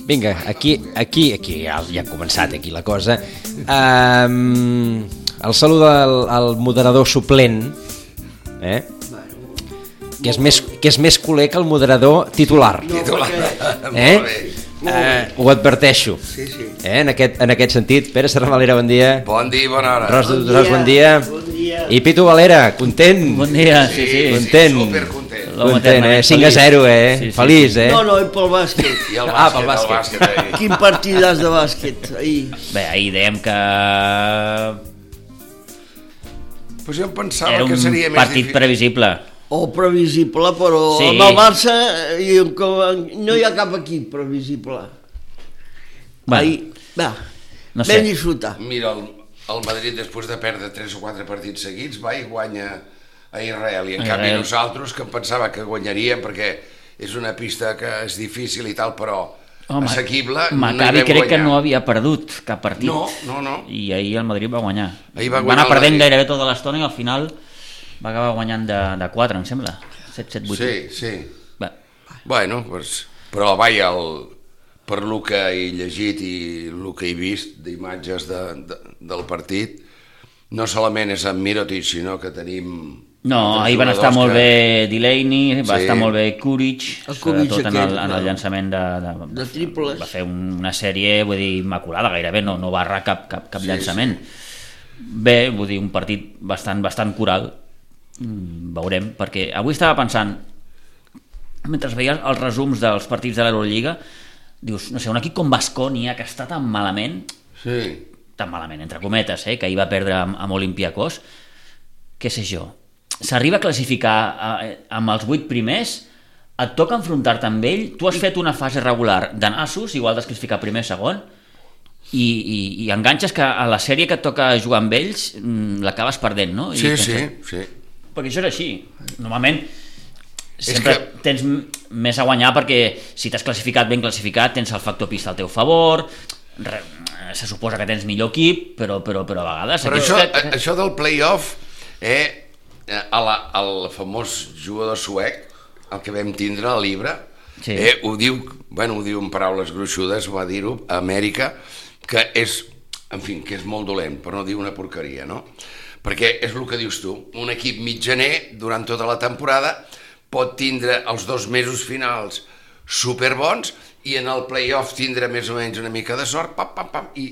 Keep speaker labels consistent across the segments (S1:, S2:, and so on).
S1: Vinga, aquí, aquí, aquí ja, ja ha començat aquí la cosa. Um, el saluda el, el moderador suplent, eh? que és, més, que és més culer que el moderador titular.
S2: Titular.
S1: Eh?
S2: Molt bé.
S1: Eh, ho adverteixo.
S2: Sí, sí.
S1: Eh? En, aquest, en aquest sentit, Pere Serramalera, bon dia.
S3: Bon dia i bona hora.
S1: Ros de
S2: Bon
S1: Dutrós,
S2: dia,
S1: bon dia.
S2: bon dia.
S1: I Pitu Valera, content.
S4: Bon dia, sí, sí.
S1: Content.
S3: supercontent.
S4: L'home
S1: Content, eh?
S4: eternament
S1: 5 a
S4: feliç.
S1: 0, eh?
S4: Sí, sí.
S1: Feliç, eh?
S2: No, no, i pel bàsquet.
S3: I el
S1: Ah,
S3: bàsquet,
S1: pel
S3: el
S1: bàsquet.
S3: bàsquet. eh? ahir.
S2: Quin partidàs de bàsquet, ahir.
S4: Bé, ahir dèiem que
S3: Pues jo em
S4: era
S3: pensava Ah,
S4: un
S3: que seria més
S4: partit
S3: difícil.
S4: previsible.
S2: O previsible, però
S4: Sí.
S2: sí. amb el Barça i amb com- no hi ha cap equip previsible.
S4: Bueno,
S2: Ahir, va,
S4: No
S2: no
S4: sé.
S2: sé. ben disfrutar.
S3: Mira, el, el Madrid, després de perdre 3 o 4 partits seguits, va i guanya a Israel. I en
S4: A
S3: canvi
S4: Israel.
S3: nosaltres, que em pensava que guanyaríem, perquè és una pista que és difícil i tal, però
S4: home,
S3: assequible,
S4: Maccabi
S3: n'hi
S4: crec que
S3: guanyar.
S4: no havia perdut cap partit.
S3: No, no, no.
S4: I ahir el Madrid va guanyar.
S3: Ahir va
S4: va
S3: guanyar
S4: anar
S3: el
S4: perdent
S3: Madrid.
S4: gairebé tota l'estona i al final va acabar guanyant de, de 4, em sembla. 7, 7, 8.
S3: Sí, sí.
S4: Bé,
S3: Bueno, pues, però vaja, el, per lo que he llegit i el que he vist d'imatges de, de, del partit, no solament és en Mirotic, sinó que tenim...
S4: No,
S3: altres
S4: ahir van estar
S3: jugadors
S4: molt
S3: que-
S4: bé Delaney, va
S3: Sí.
S4: sí. estar molt bé Kuric,
S2: El Kuric
S4: sobretot en el,
S2: aquest,
S4: en
S2: clar.
S4: el llançament de, de,
S2: De triples.
S4: Va fer un- una sèrie, vull dir, immaculada gairebé, no, no va errar cap, cap, cap sí, llançament. Bé, vull dir, un partit bastant, bastant coral, Mm, veurem, perquè avui estava pensant, mentre veies els resums dels partits de l'Eurolliga, dius, no sé, un equip com Bascònia, que està tan malament,
S3: Sí,
S4: tan malament, entre cometes, eh, que ahir va perdre amb, amb Olympiacos, què sé jo, s'arriba a classificar eh, amb els vuit primers, et toca enfrontar-te amb ell, tu has fet una fase regular d'anassos, igual d'has classificat primer, segon, i, i, i enganxes que a la sèrie que et toca jugar amb ells mm, l'acabes perdent, no? I
S3: sí,
S4: penses,
S3: sí, sí.
S4: perquè això és així. Normalment sempre que... tens m- més a guanyar perquè si t'has classificat ben classificat tens el factor pista al teu favor, re, se suposa que tens millor equip, però, però, però a vegades...
S3: Però
S4: aquests
S3: això, eh,
S4: que-
S3: a- això del play-off, eh, eh, a la, al famós jugador suec, el que vam tindre a l'Ibra,
S4: Sí.
S3: sí. eh, ho diu, bueno, ho diu en paraules gruixudes, va dir-ho, a Amèrica, que és, en fi, que és molt dolent, però no diu una porqueria, no? Perquè és el que dius tu, un equip mitjaner durant tota la temporada pot tindre els dos mesos finals superbons i en el play-off tindre més o menys una mica de sort, pam, pam, pam, i,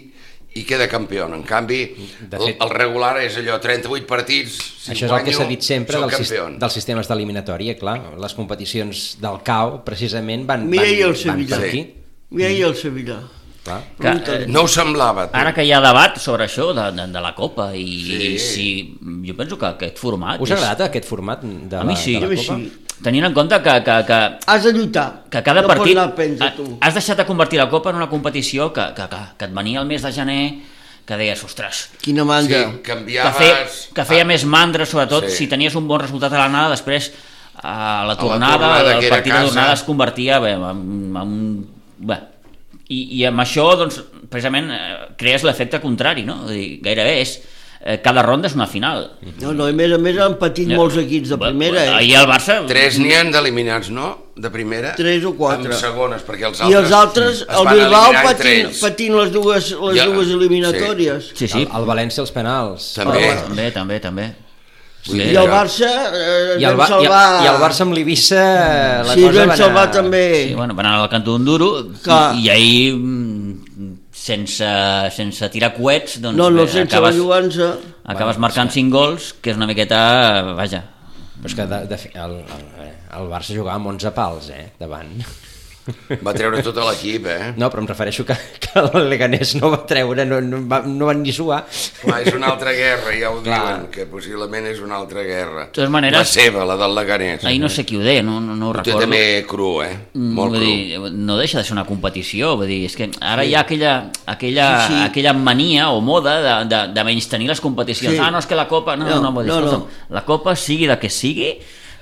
S3: i queda campió. En canvi,
S1: De
S3: de
S1: fet-
S3: fet, el regular és allò, 38 partits, si
S1: Això és el que
S3: guanyo,
S1: s'ha dit sempre
S3: soc
S1: del sis,
S3: campió.
S1: dels sistemes d'eliminatòria, clar. Les competicions del CAO, precisament, van,
S2: Mira
S1: van,
S2: i el
S1: van
S2: Sevilla.
S1: per aquí.
S2: Mira ahir el Sevilla.
S1: Clar.
S4: Que, eh,
S3: No ho semblava. tu.
S4: ara que hi ha debat sobre això de, de, de la Copa i, sí.
S3: Sí.
S4: i si, jo penso que aquest format...
S1: Us ha agradat aquest format de
S4: A
S1: la,
S4: mi sí.
S1: de
S2: A mi
S1: la Copa?
S2: sí.
S4: Tenint en compte que, que, que,
S2: Has de lluitar.
S4: que cada
S2: no
S4: partit...
S2: No pots anar a penja, tu.
S4: Has deixat de convertir la Copa en una competició que, que, que, que et venia el mes de gener que deies, ostres,
S2: Quina
S3: Sí,
S2: manga.
S4: que,
S3: canviaves...
S4: fe, que feia
S3: Ah,
S4: més mandra, sobretot,
S3: Sí.
S4: sí. si tenies un bon resultat a l'anada, després a la tornada, a la
S3: tornada,
S4: tornada
S3: que
S4: el
S3: era
S4: partit de
S3: casa.
S4: tornada es convertia bé, en, en un... Bé. I, I amb això, doncs, precisament, eh, crees l'efecte contrari, no? Vull dir, gairebé és... eh, Cada ronda és una final.
S2: No, no, i a més a més han patit molts equips de
S4: Bé,
S2: primera.
S4: bé,
S2: Eh?
S4: Ahir el Barça...
S3: Tres n'hi han d'eliminats, no? De primera?
S2: Tres o quatre.
S3: Amb segones, perquè els
S2: I
S3: altres...
S2: els altres,
S3: es
S2: el
S3: van
S2: Bilbao
S3: eliminar en
S2: patint,
S3: tres.
S2: patint les dues, les
S3: Ja,
S2: dues
S3: sí.
S2: eliminatòries.
S4: Sí, sí.
S1: El, el València als penals.
S3: Ah, També.
S4: Però, també, també, també.
S3: Vull
S4: Sí.
S3: dir
S2: I el
S3: que-
S2: Barça eh,
S1: I el,
S2: vam
S1: Ba- i,
S2: salvar...
S1: el, I el Barça amb l'Ibiza eh, la
S2: sí,
S1: cosa
S2: vam
S1: va anar...
S2: salvar també.
S4: Sí, bueno, van anar al cantó d'un duro
S2: Clar.
S4: i, i ahir, mm, sense, sense tirar coets, doncs,
S2: no, no,
S4: bé,
S2: sense la
S4: acabes,
S2: llogança.
S4: acabes marcant 5 gols, que és una miqueta... Vaja,
S1: Però és que de, de, fi- el, el, el Barça jugava amb 11 pals, eh, davant.
S3: Va treure tot l'equip, eh?
S1: No, però em refereixo que, que el Leganés no va treure, no, no, va, no van ni suar.
S3: Clar, és una altra guerra, ja ho
S1: Clar.
S3: diuen, que possiblement és una altra guerra. De
S4: totes maneres-
S3: La seva, la del Leganés.
S4: ahir no sé qui ho deia, no, no, no ho
S3: Té
S4: recordo.
S3: també cru, eh?
S4: Mm,
S3: Molt
S4: vull
S3: cru.
S4: dir, no deixa de ser una competició, vull dir, és que ara sí. hi ha aquella, aquella, sí, sí. aquella mania o moda de, de, de menys tenir les competicions.
S2: Sí.
S4: Ah, no, és que la Copa... No, no,
S2: No,
S4: no, vull dir,
S2: no, no.
S4: escolta'm, la Copa sigui de que sigui,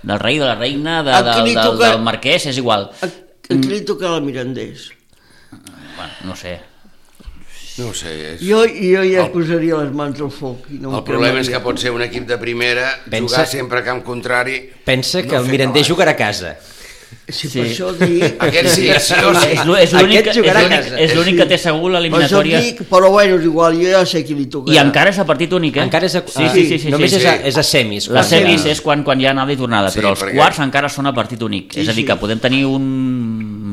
S4: del rei, de la reina, de,
S2: A
S4: del,
S2: qui li
S4: del,
S2: toca-
S4: del marquès, és igual.
S2: A, a qui li tocava el Mirandés?
S4: Bueno, no sé,
S3: No ho sé, és...
S2: Jo, jo ja posaria les mans al foc. I no em
S3: El problema és
S2: cremaria.
S3: que pot ser un equip de primera,
S1: Pensa-
S3: jugar sempre a camp contrari...
S1: Pensa que
S3: No
S1: el
S3: fer
S1: Mirandés
S3: balanç.
S1: jugarà a casa.
S2: Si
S4: Sí.
S2: per això dic...
S3: Aquest sí, sí o sí.
S4: És l'ú- és l'únic
S1: Aquest
S4: que-
S1: jugarà a
S4: és l'únic-
S1: casa.
S4: és l'únic que té segur
S2: Per això
S4: l'eliminatòria.
S2: dic, però bueno, és igual, jo ja sé qui li tocarà.
S4: I encara és a partit únic, eh?
S1: Encara és a, Ah,
S4: sí, sí, sí, sí,
S1: només
S4: sí,
S1: és, a, és a semis.
S4: Les
S1: quan-
S4: semis és quan, quan hi ha anada i tornada,
S3: Sí,
S4: però els
S3: perquè-
S4: quarts encara són a partit únic.
S2: Sí,
S4: és a dir,
S2: sí.
S4: que podem tenir un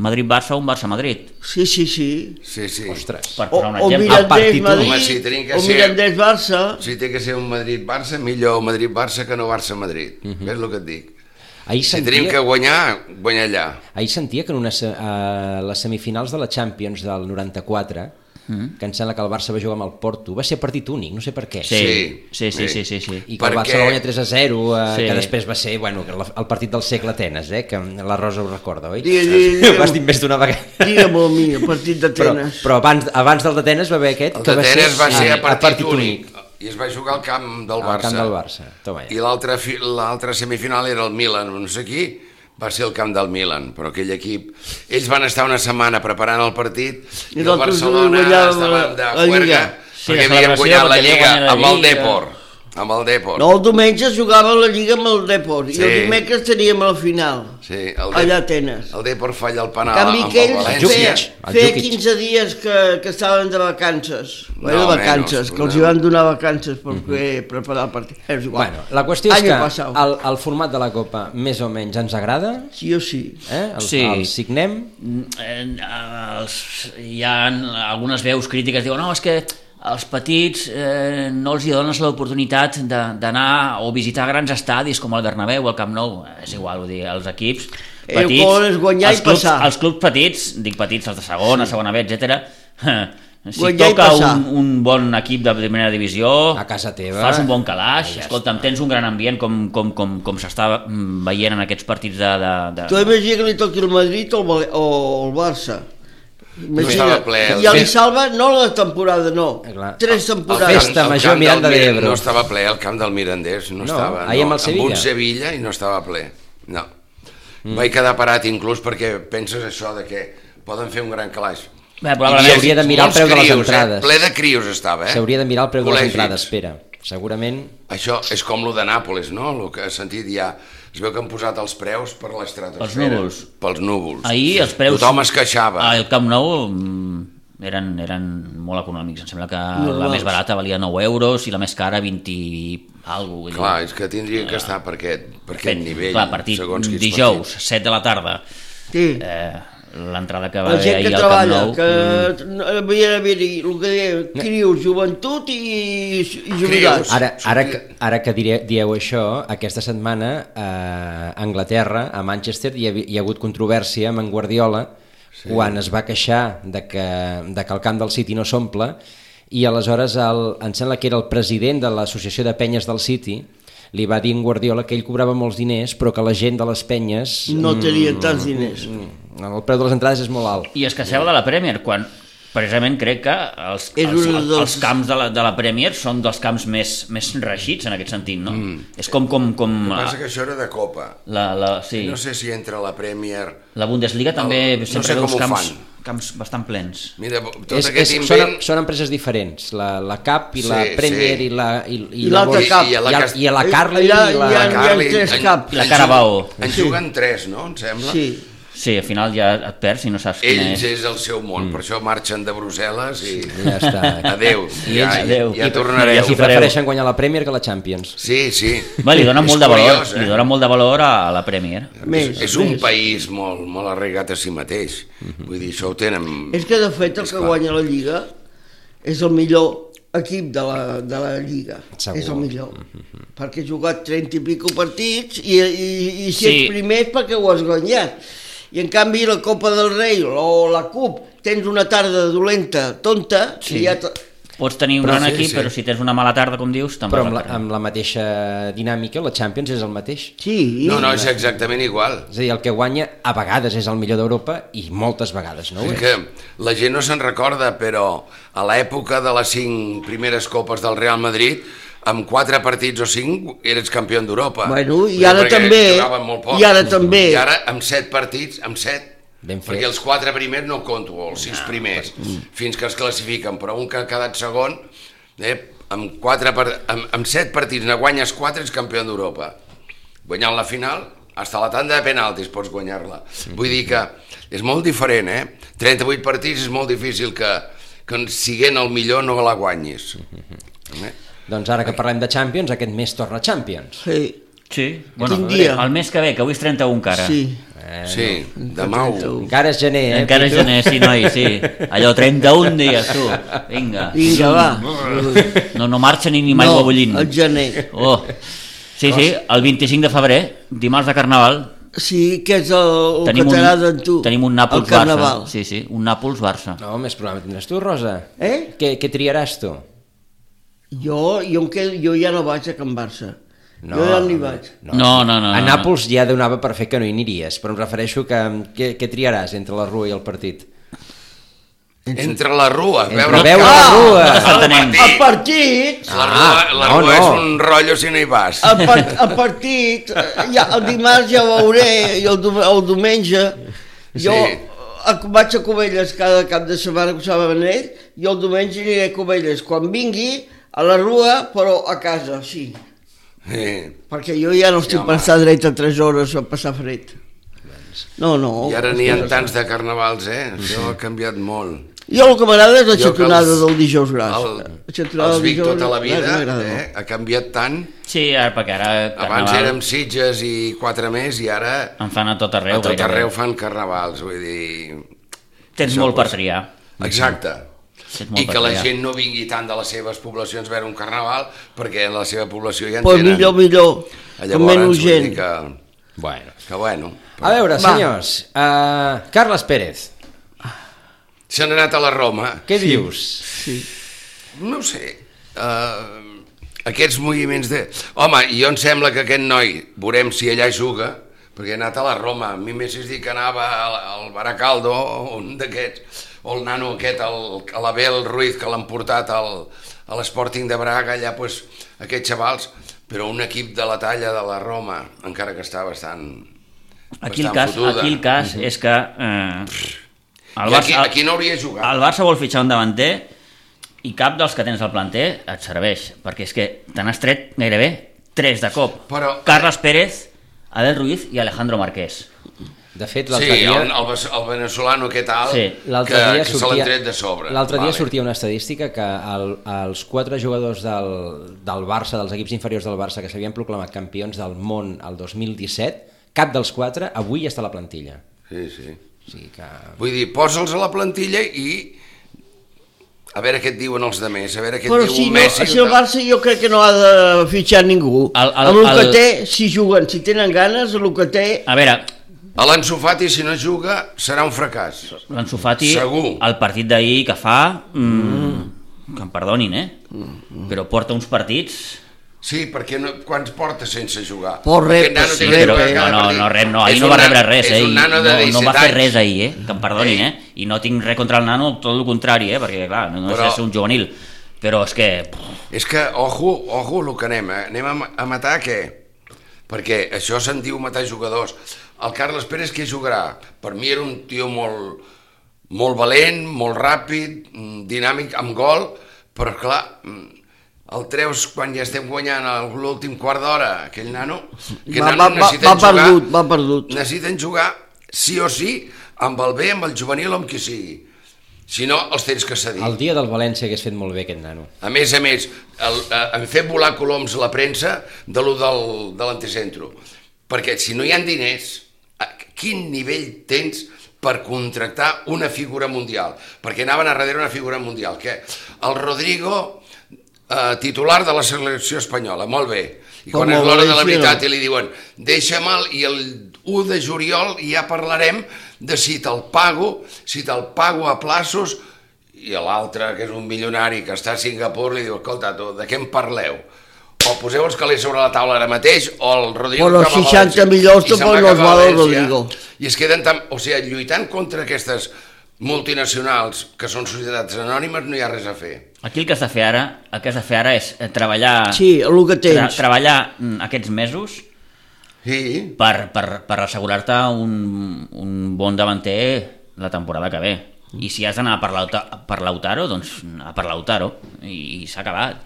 S4: Madrid-Barça o un Barça-Madrid.
S2: Sí, sí, sí.
S3: Sí, sí.
S1: Ostres.
S4: Per
S2: O,
S4: posar un
S2: o
S4: exemple.
S1: mira- partit
S2: Mirandés
S1: únic.
S2: Madrid,
S3: Home, sí, tenim que
S2: o
S3: ser-
S2: Mirandés Barça.
S3: Si té que ser un Madrid-Barça, millor Madrid-Barça que no Barça-Madrid. Uh
S4: Mhm.
S3: -huh. Ves el que et dic?
S1: Ahir
S3: Si tenim que
S1: sentia,
S3: guanyar, guanyar allà.
S1: ahir sentia que en una, se- a les semifinals de la Champions del 94,
S3: Mm.
S1: que em sembla que el Barça va jugar amb el Porto, va ser partit únic, no sé per què.
S4: Sí, sí,
S3: Sí.
S4: sí, sí, sí, sí.
S1: I que el Barça
S3: Perquè-
S1: va guanyar 3 a 0, eh,
S4: Sí.
S1: sí. que després va ser bueno, que la- el partit del segle Atenes, eh, que la Rosa ho recorda, oi?
S2: Digue, digue, digue.
S1: Ho has dit més d'una vegada.
S2: Digue-m'ho a mi, el partit
S1: Però,
S2: d'Atenes.
S1: però abans, abans del d'Atenes va haver aquest,
S3: El
S1: que va ser, eh,
S3: d'Atenes va ser a partit,
S1: únic,
S3: únic. I es va jugar al camp del
S1: al
S3: Barça.
S1: camp del Barça. Toma ja.
S3: I l'altra fi- l'altra semifinal era el Milan, no sé qui, va ser el camp del Milan, però aquell equip... Ells van estar una setmana preparant el partit i,
S2: I
S3: el
S2: nosaltres
S3: Barcelona
S2: guanyàvem
S3: estava de
S2: la- la
S3: juerga
S2: Lliga.
S4: Sí, la
S3: perquè havien
S4: celebració,
S3: guanyat la
S4: perquè havien
S3: Lliga
S4: guanyat la
S3: amb el
S4: Lliga.
S3: Depor. Amb el Depor.
S2: No, el diumenge es jugava la Lliga amb el Depor i el
S3: Sí.
S2: dimecres teníem la final,
S3: Sí, el Depor,
S2: allà a Atenes.
S3: El Depor falla el
S2: En
S3: penal
S2: canvi,
S3: Ah, amb
S2: que
S3: el
S2: ells
S3: València.
S2: feia,
S1: Jukic, el
S2: feia
S1: Jukic.
S2: 15 dies que, que estaven de vacances.
S3: No,
S2: No, de
S3: menys,
S2: vacances, que els hi
S3: no.
S2: van donar vacances per poder preparar el partit. És igual.
S1: Bueno, la qüestió és
S2: Any
S1: que
S2: passat.
S1: el, el format de la Copa més o menys ens agrada,
S2: Sí o sí.
S1: eh? el,
S4: Sí.
S1: el signem,
S4: Eh, els, hi ha algunes veus crítiques diuen no, és que als petits eh, no els hi dones l'oportunitat de- d'anar o visitar grans estadis com el Bernabéu o el Camp Nou, és igual, vull dir, els equips
S2: El gol és guanyar
S4: els
S2: i
S4: clubs,
S2: passar.
S4: Els clubs petits, dic petits, els de segona, segona B, etc. si
S2: Guanyar i
S4: toca
S2: passar.
S4: un, un bon equip de primera divisió
S1: A casa teva.
S4: fas un bon calaix,
S1: Ja està.
S4: escolta'm, tens un gran ambient com, com, com, com s'està mm, veient en aquests partits de... de, de...
S2: Tu imagina que li toqui el Madrid o el, Val- o el Barça.
S3: estava ple, el
S2: I li
S3: fet-
S2: salva no la temporada, no.
S1: Eh, clar.
S2: Tres
S3: El
S1: La
S2: temporades.
S1: festa
S3: el
S1: major
S3: camp del
S1: Miranda de
S3: Mir-
S1: Ebro.
S3: No estava ple, el camp del Mirandés no,
S1: No,
S3: estava.
S1: ahí amb el Sevilla.
S3: un Sevilla i no estava ple. No. Mm. Vaig quedar parat inclús perquè penses això de que poden fer un gran calaix.
S4: Bé, probablement-
S3: I
S1: S'hauria de mirar el
S3: molts
S1: preu de les
S3: crios,
S1: entrades.
S3: Eh? Ple de crios estava, eh?
S1: s'hauria de mirar el preu de les
S3: Col·legis.
S1: entrades, Pere. Segurament...
S3: Això és com lo de Nàpolis, no? El que he sentit ja... Es veu que han posat els preus per l'estratosfera.
S4: Pels núvols.
S3: Pels núvols.
S4: Ahir els preus... Ah,
S3: Tothom es queixava.
S4: Al Camp Nou mm, eren, eren molt econòmics. Em sembla que la
S2: Normals.
S4: més barata valia 9 euros i la més cara 20 i algo. Vull dir,
S3: Clar, és que tindria que estar per aquest, per aquest nivell.
S4: Ah. Clar, partit
S3: segons quins
S4: dijous, 7 de la tarda.
S2: Sí.
S4: Eh, L'entrada que va
S2: La
S4: haver
S2: gent
S4: ahir
S2: que
S4: al Camp
S2: treballa,
S4: Nou... mm.
S2: que
S3: mm.
S2: no- havia d'haver-hi el que deia, crius, joventut i, i jubilats.
S3: Crius.
S1: Ara, ara,
S3: Sortia-
S1: que- ara que diré, dieu això, aquesta setmana eh, a Anglaterra, a Manchester, hi ha, hi ha hagut controvèrsia amb en Guardiola sí. quan es va queixar de que, de que el camp del City no s'omple i aleshores el, em sembla que era el president de l'associació de penyes del City li va dir a en Guardiola que ell cobrava molts diners però que la gent de les penyes
S2: No
S3: Mm.
S2: tenien tants diners.
S1: mm, el preu de les entrades és molt alt
S4: I es queixava de la Premier, quan precisament crec que els,
S2: És
S4: els,
S2: un
S4: els,
S2: dels-
S4: els camps de la, de la Premier són dels camps més, més regits en aquest sentit, no? Mm. És com... com, com
S3: partits. Pensa que això era de Copa.
S4: la, la, Ah. sí.
S3: No sé si entra la Premier...
S4: La Bundesliga també
S3: El- no
S4: no, sempre
S3: sé
S4: no
S3: com
S4: veus
S3: ho
S4: camps,
S3: fan.
S4: camps bastant plens.
S3: Mira, tot
S1: és, és,
S3: aquest
S1: són,
S3: invent...
S1: són empreses diferents la, la CAP i la
S3: Sí,
S1: Premier
S3: sí.
S1: i la i,
S2: I l'altra
S1: Bol-
S2: CAP.
S1: i, la,
S3: Cas-
S1: i a la Carly
S2: Allà
S1: i la,
S2: hi ha-
S1: la
S2: hi tres caps.
S4: La Carabao.
S3: En
S2: Sí.
S3: juguen tres, no? Em sembla.
S2: Sí.
S4: Sí, al final ja et perds i no saps quina
S3: Ells
S4: és. Mm.
S3: és el seu món, per això marxen de Brussel·les i...
S1: Ja està.
S3: Adéu.
S4: I
S3: ja,
S4: ells, adéu.
S3: ja
S4: I-
S3: tornareu.
S4: ja
S1: I
S4: s'hi fareu.
S1: prefereixen guanyar la Premier que la Champions.
S3: Sí, sí.
S4: Va, li dona
S3: És
S4: molt de valor,
S3: curiós, eh?
S4: li dona molt de valor a la Premier.
S2: Més,
S3: és un
S2: més.
S3: país molt, molt arregat a si mateix.
S4: Mhm.
S3: Vull dir, això ho tenen...
S2: És que de fet el
S3: És
S2: que
S3: clar.
S2: guanya la Lliga és el millor equip de la, de la Lliga.
S1: Segur.
S2: És el millor.
S3: Mm,
S2: Perquè has jugat 30 i pico partits i, i, i si
S4: Sí.
S2: ets primer és perquè ho has guanyat. I en canvi la Copa del Rei o la CUP tens una tarda dolenta, tonta, sí.
S4: Sí.
S2: i ja... te-
S4: Pots tenir un
S3: Però
S4: gran
S3: sí,
S4: equip,
S3: sí.
S4: però si tens una mala tarda, com dius, tampoc...
S1: Però amb la, amb la mateixa dinàmica, la Champions és el mateix.
S2: Sí,
S3: No, no, és exactament igual.
S1: És a dir, el que guanya a vegades és el millor d'Europa i moltes vegades, no? ho
S3: És
S1: és?
S3: que la gent no se'n recorda, però a l'època de les cinc primeres copes del Real Madrid, amb quatre partits o cinc eres campió d'Europa.
S2: Bueno, i
S3: Vull dir,
S2: ara
S3: perquè
S2: també,
S3: jugaven molt poc.
S2: i ara també.
S3: I ara Eh, amb set partits, amb set,
S1: Ben fet. Ah, mm.
S3: perquè els quatre primers no conto, o els sis primers, fins que es classifiquen, però un que ha quedat segon, eh, amb, quatre, par- amb, amb set partits ne guanyes quatre, ets campió d'Europa. Guanyant la final, Hasta la tanda de penaltis pots guanyar-la. Vull dir que és molt diferent, eh? 38 partits és molt difícil que, que siguent el millor no la guanyis. Eh?
S1: Doncs ara que parlem de Champions, aquest mes torna Champions.
S2: Sí,
S4: Sí, bueno,
S2: un dia.
S4: el mes que ve, que avui és 31 encara.
S2: sí.
S3: Sí, demà ho...
S1: Encara és gener, eh?
S4: Encara és
S1: Pitu?
S4: gener, sí, noi, sí. Allò, 31 dies, tu. Vinga.
S2: Vinga, va.
S4: No, no marxa Ah. ni, ni mai no, bullint.
S2: el gener.
S4: Oh. Sí, sí, el 25 de febrer, dimarts de Carnaval,
S2: Sí, que és el, el Oh, que t'agrada a tu.
S4: tenim un
S2: el carnaval.
S4: Nàpols-Barça. Sí, sí, un Nàpols-Barça.
S1: No, més programa tindràs tu, Rosa.
S2: Eh?
S1: Què, què triaràs tu?
S2: Jo, jo, em quedo, jo ja no vaig a Can Barça. No, jo ja no hi vaig.
S4: No, no, no,
S1: A
S4: no,
S1: Nàpols ja donava per fer que no hi aniries, però em refereixo que què, què triaràs entre la rua i el partit?
S3: Entre la rua,
S1: Entre
S3: veure...
S1: veure
S3: el
S1: la rua.
S4: no s'entenem.
S2: El Ah! partit,
S3: La rua, la
S1: Ah, no,
S3: rua
S1: no.
S3: és un rotllo si no hi vas.
S2: el, par el partit, eh, ja, el dimarts ja ho veuré, i el, dom- el diumenge, jo
S3: Sí.
S2: a, vaig a Covelles cada cap de setmana, com saben ell, i el diumenge aniré a Covelles, quan vingui, a la rua, però a casa, sí.
S3: Sí.
S2: Perquè jo ja no estic
S3: home. Doncs.
S2: sí, pensant dret a 3 hores a passar fred. No, no.
S3: I ara n'hi ha tants de carnavals, eh? Això ha canviat molt.
S2: Jo el que m'agrada és la
S3: Jo que
S2: xatonada
S3: els-
S2: del dijous gras.
S3: El,
S2: la xatonada
S3: els
S2: del
S3: Vic
S2: dijous
S3: tota la
S2: gras
S3: vida
S2: m'agrada
S3: eh?
S2: molt.
S3: ha canviat tant.
S4: Sí, ara, perquè ara
S3: Abans
S4: Carnaval Ah,
S3: érem Sitges i quatre més i ara
S4: en fan a tot arreu.
S3: a tot
S4: gairebé.
S3: arreu fan carnavals, vull dir...
S4: Tens
S3: Això,
S4: molt per
S3: pues.
S4: triar.
S3: Exacte.
S4: Tens molt
S3: I
S4: per
S3: que la
S4: triar.
S3: gent no vingui tant de les seves poblacions a veure un carnaval perquè en la seva població ja en
S2: Però
S3: tenen.
S2: Doncs millor, millor. Com
S3: Ah, Llavors,
S2: menys
S3: vull
S2: gent.
S3: dir Que,
S1: Bueno.
S3: que bueno.
S1: A veure,
S2: Va.
S1: senyors, uh, Carles Pérez,
S3: Se n'ha anat a la Roma.
S1: què sí. dius?
S2: Sí.
S3: No ho sé. Uh, aquests moviments de... Home, jo em sembla que aquest noi, veurem si allà hi juga, perquè ha anat a la Roma. A mi m'haguessis dit que anava al, al Baracaldo, o un d'aquests, o el nano aquest, el, a l'Abel Ruiz, que l'han portat al, a l'Sporting de Braga, allà, pues, aquests xavals, però un equip de la talla de la Roma, encara que està bastant...
S4: Aquí el
S3: bastant
S4: cas,
S3: fotuda. Mhm.
S4: aquí el cas és que... Eh, el
S3: I aquí,
S4: Barça,
S3: aquí no hauria jugat.
S4: El Barça vol fitxar un davanter i cap dels que tens al planter et serveix, perquè és que te n'has tret gairebé tres de cop.
S3: Però-
S4: Carles Pérez, Abel Ruiz i Alejandro Marqués.
S1: De fet,
S3: Sí,
S1: l'altre dia...
S3: el, el, ves- el venezolano que tal,
S4: Sí,
S1: L'altre
S3: que,
S1: dia
S3: que se l'han
S1: sortia,
S3: tret de sobre.
S1: l'altre dia
S3: Vale.
S1: sortia una estadística que el, els quatre jugadors del, del Barça, dels equips inferiors del Barça, que s'havien proclamat campions del món el 2017, cap dels quatre avui està a la plantilla.
S3: Sí, sí.
S1: O sigui que...
S3: Vull dir, posa'ls a la plantilla i a veure què et diuen els demés, a veure què et
S2: Però
S3: diu
S2: si,
S3: un
S2: no,
S3: Messi.
S2: si el
S3: tal.
S2: Barça jo crec que no ha de fitxar ningú.
S4: El- el-
S2: amb el, que
S4: el-
S2: té, si juguen, si tenen ganes, el que té...
S4: A veure,
S3: Alonso Fati, si no juga, serà un fracàs.
S4: l'Ansu Fati,
S3: Segur. Mhm.
S4: el partit d'ahir que fa... Mm, Que em perdonin, eh? Però porta uns partits...
S3: Sí, perquè no, quants porta sense jugar?
S2: Por
S3: Aquest
S2: rep,
S3: nano té
S2: sí,
S3: que
S4: Però,
S3: jugar
S4: no,
S3: cada
S4: no,
S3: partit.
S4: no, rep, no,
S3: És
S4: ahir no
S3: un
S4: va
S3: nano-
S4: rebre res, eh?
S3: És un
S4: i
S3: nano de
S4: no, no
S3: 17
S4: va fer res
S3: anys.
S4: ahir, eh? Que em perdonin, eh? I no tinc res contra el nano, tot el contrari, eh? Perquè, clar, no, no
S3: Però-
S4: Però... és un juvenil. Però és que... pff,
S3: És que, ojo, ojo el que anem, eh? anem a, ma- a matar què? Perquè això se'n diu matar jugadors. El Carles Pérez què jugarà? Per mi era un tio molt, molt valent, molt ràpid, mm, dinàmic, amb gol, però clar, mm, el treus quan ja estem guanyant el- l'últim quart d'hora, aquell nano, que
S2: Va, va,
S3: nano
S2: va, va
S3: necessiten
S2: perdut,
S3: jugar,
S2: va perdut.
S3: necessiten jugar sí o sí amb el B, amb el juvenil, amb qui sigui. Si no, els tens que cedir.
S1: El dia del València hagués fet molt bé aquest nano.
S3: A més a més, el, eh, han fet volar coloms la premsa de lo del, de l'anticentro. Perquè si no hi han diners, a quin nivell tens per contractar una figura mundial? Perquè anaven a darrere una figura mundial. Que el Rodrigo, eh, titular de la selecció espanyola, molt bé. I quan
S2: Com
S3: és
S2: el
S3: l'hora de la
S2: Valenciano.
S3: veritat i li diuen deixa mal i el 1 de juliol ja parlarem de si te'l pago, si te'l pago a plaços i l'altre, que és un milionari que està a Singapur, li diu, escolta, tu, de què en parleu? O poseu els calés sobre la taula ara mateix, o el Rodrigo...
S2: O los
S3: que va a
S2: 60
S3: València.
S2: milions
S3: I se'n
S2: tampoc
S3: va
S2: no els
S3: cap a
S2: val el
S3: València.
S2: Rodrigo.
S3: I es queden tan... O sigui, lluitant contra aquestes multinacionals que són societats anònimes no hi ha res a fer.
S4: Aquí el que has de fer ara, el que has de fer ara és eh,
S3: Ah.
S4: treballar,
S2: Sí, el que
S4: tra
S2: tens.
S4: treballar mm, aquests mesos
S3: Sí,
S4: per, per, per assegurar-te un, un bon davanter la temporada que ve. I si has d'anar a per l'Auta- per l'Autaro, doncs a per l'Autaro. I, i s'ha acabat.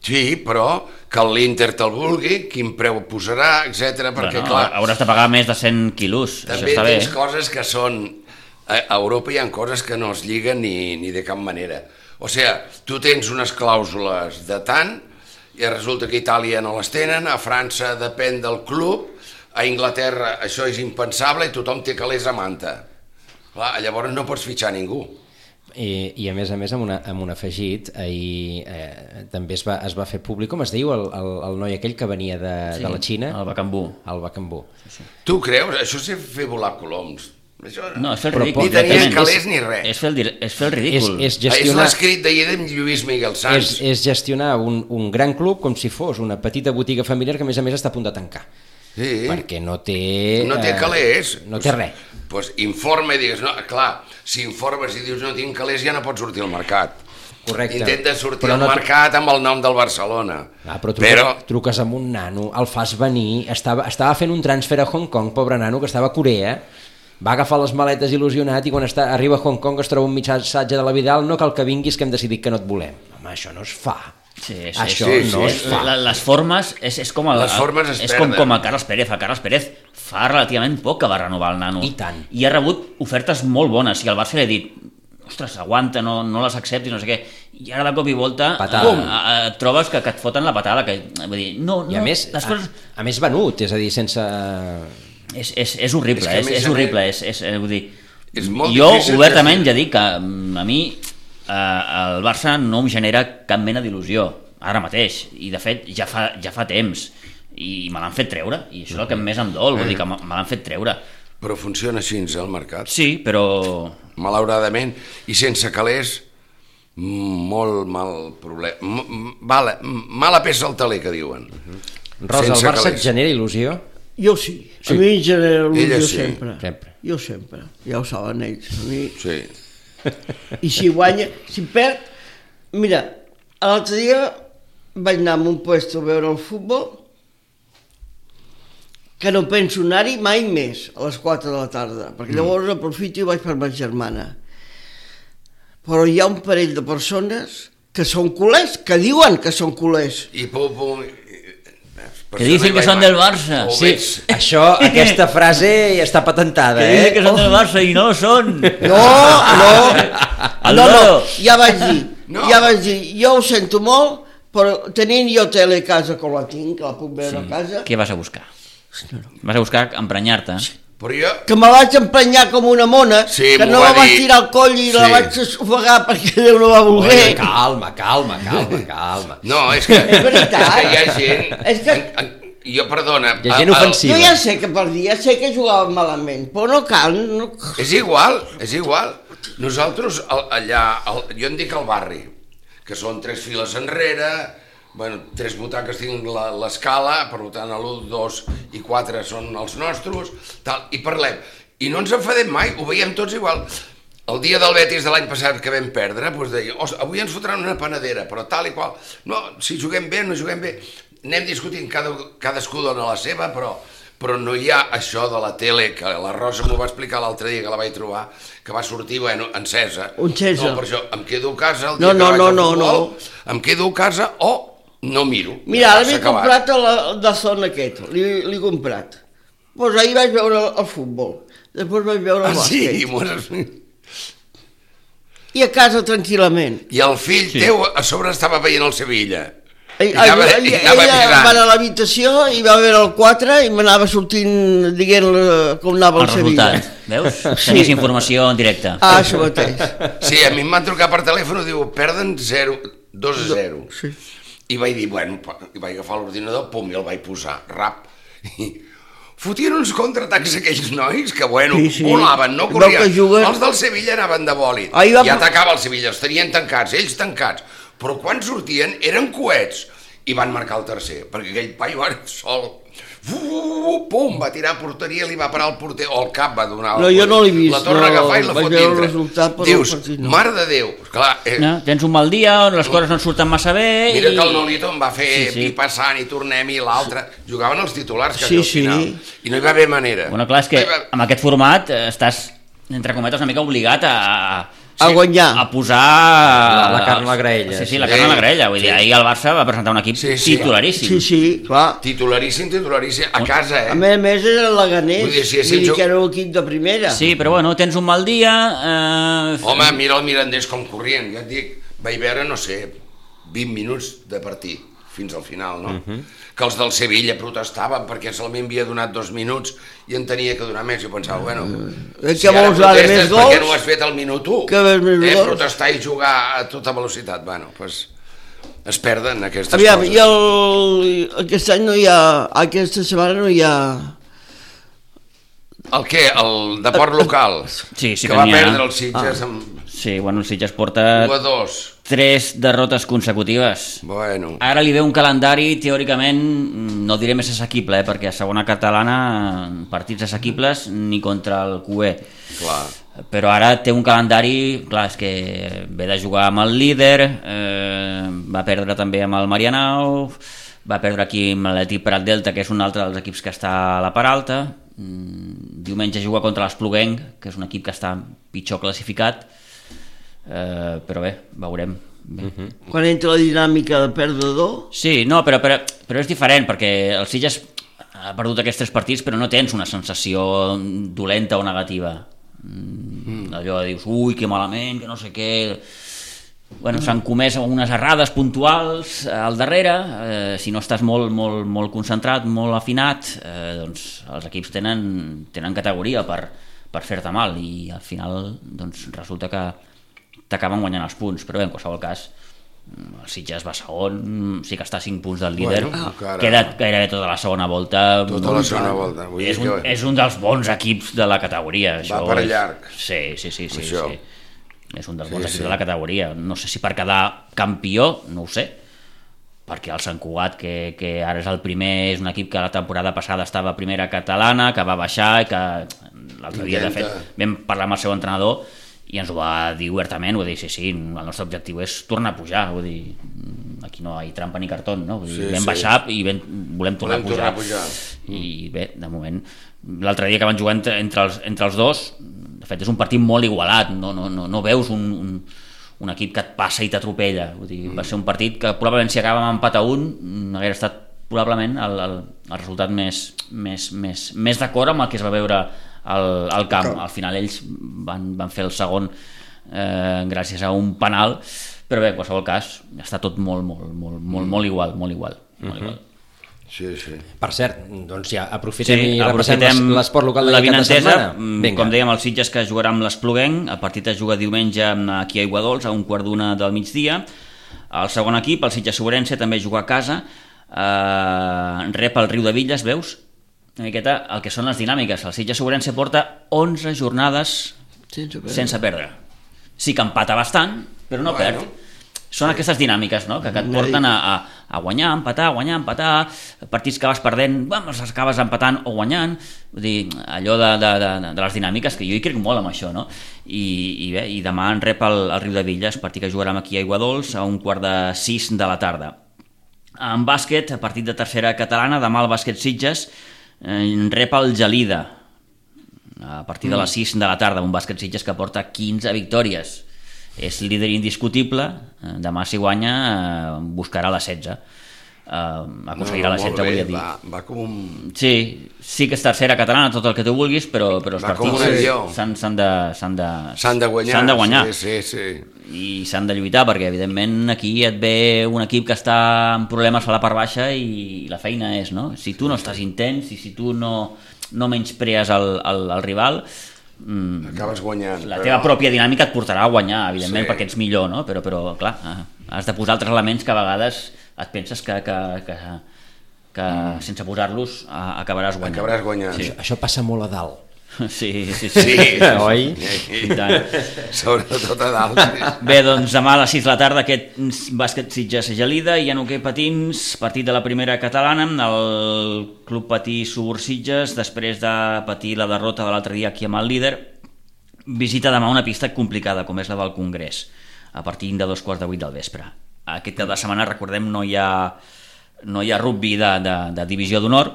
S3: Sí, però que l'Inter te'l vulgui, quin preu posarà, etc. perquè,
S4: Bueno,
S3: clar,
S4: hauràs de pagar més de 100 quilos,
S3: també
S4: això està bé. eh?
S3: tens coses que són... A a Europa hi ha coses que no es lliguen ni, ni de cap manera. O sigui, tu tens unes clàusules de tant, i resulta que a Itàlia no les tenen, a França depèn del club, a Inglaterra això és impensable i tothom té calés a manta. Clar, llavors no pots fitxar ningú.
S1: I, i a més a més amb, una, amb un afegit ahir eh, també es va, es va fer públic com es diu el, el, el noi aquell que venia de, sí, de la Xina
S4: El Bacambú.
S1: el Bacambú
S3: Tu creus? Això és fer volar coloms. Això...
S4: No, és fer el
S1: Però
S4: ridícul.
S1: pot-
S3: Ni tenien
S4: directament.
S3: calés ni res.
S4: És fer el, dir- és fer el
S1: és,
S4: ridícul.
S1: és
S3: Gestionar...
S1: gestionar,
S3: Ah, És l'escrit d'ahir de Lluís Miguel Sanz.
S1: és, és gestionar un, un gran club com si fos una petita botiga familiar que a més a més està a punt de tancar
S3: Sí.
S1: perquè no té
S3: No té
S1: eh,
S3: calés.
S1: no té res
S3: Doncs pues informa i digues, no, clar, si informes i dius no tinc calés ja no pots sortir al mercat.
S1: Correcte.
S3: Intenta sortir
S1: Però
S3: al
S1: no-
S3: mercat amb el nom del Barcelona.
S1: Ah, però, truques,
S3: però
S1: però truques amb un nano, el fas venir, estava, estava fent un transfer a Hong Kong, pobre nano, que estava a Corea, va agafar les maletes il·lusionat i quan està, arriba a Hong Kong es troba un missatge de la Vidal, no cal que vinguis que hem decidit que no et volem. Home, això no es fa.
S4: Sí, sí,
S1: això
S3: sí,
S1: no
S3: sí,
S1: es fa.
S4: La- Les formes és, és com el,
S3: Les formes es
S4: és com,
S3: perden.
S4: com a Carles Pérez. A Carles Pérez fa relativament poc que va renovar el nano.
S1: I tant.
S4: I ha rebut ofertes molt bones. I el Barça li ha dit ostres, aguanta, no, no les acceptis, no sé què. I ara de cop i volta
S1: Patada.
S4: eh, eh, et trobes que, que et foten la patada. Que, eh, vull dir, no, no,
S1: I a més,
S4: les coses...
S1: a, a més venut, és a dir, sense...
S4: És, és, és horrible,
S3: És que a
S4: és,
S3: més
S4: és,
S3: a
S4: horrible, és, és, eh, vull dir,
S3: És molt
S4: jo
S3: difícil de
S4: obertament
S3: fer.
S4: ja dic que mm, a mi eh, el Barça no em genera cap mena d'il·lusió, ara mateix, i de fet ja fa, ja fa temps, i me l'han fet treure, i això és el que més em dol,
S3: Eh.
S4: vull dir que me me l'han fet treure.
S3: però funciona així al mercat.
S4: Sí, però...
S3: Malauradament, i sense calés mm, molt mal problema. M- m- Mala, m- mala peça al taler, que diuen.
S1: Uh-huh. Rosa,
S3: Sense
S1: el Barça
S3: calés.
S1: et genera il·lusió?
S2: Jo sí.
S1: Sí.
S2: A mi en general
S3: Ella
S2: jo
S3: sí.
S2: sempre.
S1: Sempre.
S2: Jo sempre. Ja ho saben ells. A mi...
S3: Sí.
S2: I si guanya, si perd... Mira, l'altre dia vaig anar a un puesto a veure el futbol que no penso anar-hi mai més a les 4 de la tarda, perquè llavors aprofito i vaig per ma germana. Però hi ha un parell de persones que són culers, que diuen que són culers.
S3: I pum, pum... i-
S4: Que dicen que són del Barça.
S3: Ho
S4: Sí.
S3: veig.
S1: Això, aquesta frase ja està patentada,
S4: Que
S1: eh?
S4: diuen que
S3: Oh.
S4: són del Barça i no són!
S2: No, no,
S4: El
S2: no, no,
S4: loro.
S2: ja vaig dir,
S3: No.
S2: no. ja vaig dir, jo ho sento molt, però tenint jo tele a casa com la tinc, que la puc veure sí. a casa,
S4: Què vas a buscar? Vas a buscar emprenyar-te?
S3: Però jo,
S2: que me vaig emprenyar com una mona,
S3: Sí,
S2: que
S3: m'ho
S2: no
S3: va
S2: la vaig
S3: dir.
S2: tirar al coll i la
S3: Sí.
S2: vaig ofegar perquè Déu no va voler.
S1: Oi, calma, calma, calma, calma.
S3: No, és que...
S2: És veritat.
S3: És que hi ha gent...
S2: És que-
S3: En, en, jo, perdona...
S1: Hi ha gent
S3: el- el-
S1: ofensiva.
S2: Jo ja sé que perdia, ja sé que jugava malament, però no cal, no cal.
S3: És igual, és igual. Nosaltres al- allà... Al, jo en dic al barri, que són tres files enrere, bueno, tres butaques tinc la- l'escala, per tant l'1, 2 i 4 són els nostres, tal, i parlem. I no ens enfadem mai, ho veiem tots igual. El dia del Betis de l'any passat que vam perdre, doncs deia, "Os, avui ens fotran una panadera, però tal i qual. No, si juguem bé, no juguem bé. Anem discutint, cada, cadascú dona la seva, però, però no hi ha això de la tele, que la Rosa m'ho va explicar l'altre dia que la vaig trobar, que va sortir, bueno, encesa.
S2: Encesa.
S3: No, per això, em quedo a casa el
S2: No,
S3: dia que
S2: no,
S3: vaig
S2: no,
S3: al
S2: no,
S3: futbol,
S2: no.
S3: em quedo a casa o no miro.
S2: Mira, ara
S3: S'ha
S2: m'he
S3: acabat.
S2: comprat la, de son aquest, li- l'he comprat. Doncs ahir vaig veure el, el futbol, després vaig veure
S3: Ah,
S2: el
S3: sí,
S2: bàsquet.
S3: m'ho has-
S2: I a casa tranquil·lament.
S3: I el fill sí. teu a sobre estava veient el Sevilla.
S2: Ell,
S3: I anava-
S2: ell,
S3: i
S2: ell,
S3: anava
S2: ella
S3: mirant.
S2: va anar a l'habitació i va veure el 4 i m'anava sortint dient com anava
S4: El
S2: el, Sevilla.
S4: resultat, veus? Tenies informació en directe.
S2: Ah, això mateix.
S3: Sí, a mi em van trucar per telèfon i diu, perden 0, 2 a 0.
S2: Sí.
S3: I vaig dir, bueno, pa- i vaig agafar l'ordinador, pum, i el vaig posar, rap. I fotien uns contraatacs aquells nois que, bueno,
S2: Sí,
S3: sí,
S2: sí.
S3: sí. volaven, no
S2: Veu
S3: corrien.
S2: que juguen-
S3: Els del Sevilla anaven de bòlit.
S2: Ahir va-
S3: I atacava el Sevilla, els tenien tancats, ells tancats. Però quan sortien eren coets i van marcar el tercer, perquè aquell paio era sol. Fu, fu, fu, Pum, va tirar a porteria, li va parar el porter, o el cap va donar... el
S2: No, jo
S3: porter.
S2: no l'he vist,
S3: La torna a
S2: no,
S3: agafar i la
S2: vaig
S3: fot
S2: veure el
S3: dintre.
S2: resultat, però
S3: Dius,
S2: el partit no.
S3: mare de Déu, clar, eh,
S4: No? Tens un mal dia on les coses no et surten massa bé
S3: Mira
S4: i...
S3: que el Nolito em va fer sí,
S4: Sí, sí.
S3: i passant i tornem i l'altre. Jugaven els titulars que
S2: Sí,
S3: sí, al
S2: sí.
S3: final. I no hi va haver manera.
S4: Bueno, clar, és que
S3: No hi va-
S4: amb aquest format eh, estàs, entre cometes, una mica obligat a, a-
S2: a guanyar.
S4: a posar...
S1: La- la carn a la graella,
S4: Sí, sí,
S1: sí.
S4: la carn a la graella. Vull dir, ahir el Barça va presentar un equip
S3: Sí, sí.
S4: titularíssim.
S2: Sí, sí, clar.
S3: Titularíssim, titularíssim, a casa,
S2: A
S3: eh?
S2: més a més era leganés,
S3: Vull
S2: vull
S3: dir,
S2: dir,
S3: si és el joc-
S2: que era un equip de primera.
S4: Sí, però bueno, tens un mal dia... Eh...
S3: Home, mira el Mirandés com corrien, ja et dic, vaig veure, no sé, 20 minuts de partit, fins al final, no?
S2: Mhm.
S3: Que els del Sevilla protestaven perquè solament havia donat dos minuts i en tenia que donar més. Jo pensava, bueno,
S2: Eh, que vols ara més
S3: protestes, Per què
S2: gols?
S3: no ho has fet al minut 1?
S2: Que veus més
S3: eh,
S2: gols?
S3: protestar i jugar a tota velocitat. Bueno, pues, es perden aquestes
S2: Aviam,
S3: coses.
S2: i el, aquest any no hi ha, aquesta setmana no hi ha...
S3: El què? El deport local?
S4: Sí, sí
S3: que,
S4: que
S3: va
S4: n'hi ha.
S3: perdre els Sitges ah. amb
S4: Sí, bueno, el Sitges porta
S3: 1-2.
S4: tres derrotes consecutives.
S3: Bueno,
S4: Ara li ve un calendari, teòricament, mm, no diré més assequible, eh, perquè a segona catalana mm, partits assequibles ni contra el QE.
S3: clar.
S4: Però ara té un calendari, clar, és que ve de jugar amb el líder, eh, va perdre també amb el Marianao, va perdre aquí amb l'Atlètic Prat Delta, que és un altre dels equips que està a la part alta, Mm, diumenge juga contra l'Espluguenc, que és un equip que està pitjor classificat, eh, però bé, veurem. Bé.
S2: Quan entra la dinàmica de perdedor,
S4: Sí, no, però, però, però és diferent, perquè el Sitges ha perdut aquests tres partits, però no tens una sensació dolenta o negativa. Mm. Allò de dius, ui, que malament, que no sé què... Bueno, s'han comès unes errades puntuals eh, al darrere, eh, si no estàs molt, molt, molt concentrat, molt afinat, eh, doncs els equips tenen, tenen categoria per, per fer-te mal i al final doncs, resulta que t'acaben guanyant els punts, però bé, en qualsevol cas mm, el Sitges va segon, mm, sí que està a 5 punts del líder,
S3: Bueno, encara.
S4: queda gairebé tota la segona volta,
S3: Tota la segona volta. Vull
S4: és,
S3: dir
S4: un,
S3: que...
S4: és un dels bons equips de la categoria. Això
S3: per
S4: és-
S3: llarg.
S4: Sí, sí, sí. sí,
S3: Això.
S4: sí. És un dels bons equips
S3: sí.
S4: de la categoria. No sé si per quedar campió, no ho sé, perquè el Sant Cugat, que, que ara és el primer, és un equip que la temporada passada estava a primera catalana, que va baixar i que l'altre dia, de
S3: Intenta.
S4: fet, vam parlar amb el seu entrenador i ens ho va dir obertament, vull dir, sí, sí, el nostre objectiu és tornar a pujar, vull dir, aquí no hi ha trampa ni cartó, no? Vull dir,
S3: Sí,
S4: vam
S3: sí.
S4: baixar i vam, volem tornar,
S3: Volem tornar a
S4: a pujar.
S3: pujar.
S4: I bé, de moment, l'altre dia que van jugar entre, entre, els, entre els dos, de fet és un partit molt igualat, no, no, no, no veus un, un, un equip que et passa i t'atropella. Vull dir,
S3: Mm.
S4: va ser un partit que probablement si acabàvem amb empat a un, mm, hauria estat probablement el, el, el resultat més, més, més, més d'acord amb el que es va veure al, al camp. Al final ells van, van fer el segon eh, gràcies a un penal, però bé, en qualsevol cas, està tot molt, molt, molt, molt,
S3: Mm.
S4: molt igual, molt igual.
S3: Mm-hmm.
S4: Molt igual.
S3: Sí, sí.
S1: Per cert, doncs ja aprofitem sí, i repassem les- l'esport local
S4: la
S1: d'aquest cap de
S4: vinentesa,
S1: setmana.
S4: mm, com dèiem, el Sitges que jugarà amb l'Espluguenc, el partit es juga diumenge aquí a Iguadols a un quart d'una del migdia. El segon equip, el Sitges Sobrense, també juga a casa, eh, rep el Riu de Villas, veus? Una miqueta el que són les dinàmiques. El Sitges Sobrense porta 11 jornades
S2: sense perdre.
S4: sense perdre. Sí que empata bastant, però no
S3: Bueno.
S4: bueno. perd. Són aquestes dinàmiques, no?, que, que et porten a, a, a guanyar, empatar, guanyar, empatar, partits que vas perdent, bam, els acabes empatant o guanyant, vull dir, allò de, de, de, de les dinàmiques, que jo hi crec molt amb això, no? I, i bé, i demà en rep el, el Riu de Villas, partit que jugarem aquí a Iguadols a un quart de sis de la tarda. En bàsquet, a partit de tercera catalana, demà el bàsquet Sitges eh, rep el Gelida a partir
S3: Mm.
S4: de les 6 de la tarda, un bàsquet Sitges que porta 15 victòries. És líder indiscutible, eh, demà si guanya eh, buscarà la 16. Eh, aconseguirà la
S3: molt
S4: 16, volia
S3: bé,
S4: dir.
S3: Va, va com un...
S4: Sí, sí que és tercera catalana, tot el que tu vulguis, però, però els
S3: Va com un avió.
S4: partits s'han s'han de... S'han de,
S3: S'han de guanyar.
S4: S'han de guanyar
S3: Sí, sí, sí.
S4: i s'han de lluitar perquè evidentment aquí et ve un equip que està amb problemes a la part baixa i la feina és, no? Si tu no estàs intens i si tu no, no menysprees el, el, el rival mm,
S3: Acabes guanyant.
S4: la teva pròpia dinàmica et portarà a guanyar evidentment
S3: Sí.
S4: perquè ets millor, no? Però, però clar, eh, has de posar altres elements que a vegades et penses que, que, que, que sense posar-los eh, acabaràs guanyant
S3: Mm. Acabaràs guanyant.
S4: Sí.
S1: Doncs Això passa molt a dalt.
S4: Sí, sí, sí,
S3: Sí.
S1: Oi?
S4: I tant.
S3: Sobretot a dalt. sí.
S4: Bé, doncs demà a les 6 de la tarda aquest bàsquet Sitges a Gelida i en hoquei patins, partit de la primera catalana el Club Patí Subur Sitges després de patir la derrota de l'altre dia aquí amb el líder visita demà una pista complicada com és la del Congrés a partir de dos quarts de vuit del vespre aquest cap de setmana, recordem, no hi ha no hi ha rugby de, de, de divisió d'honor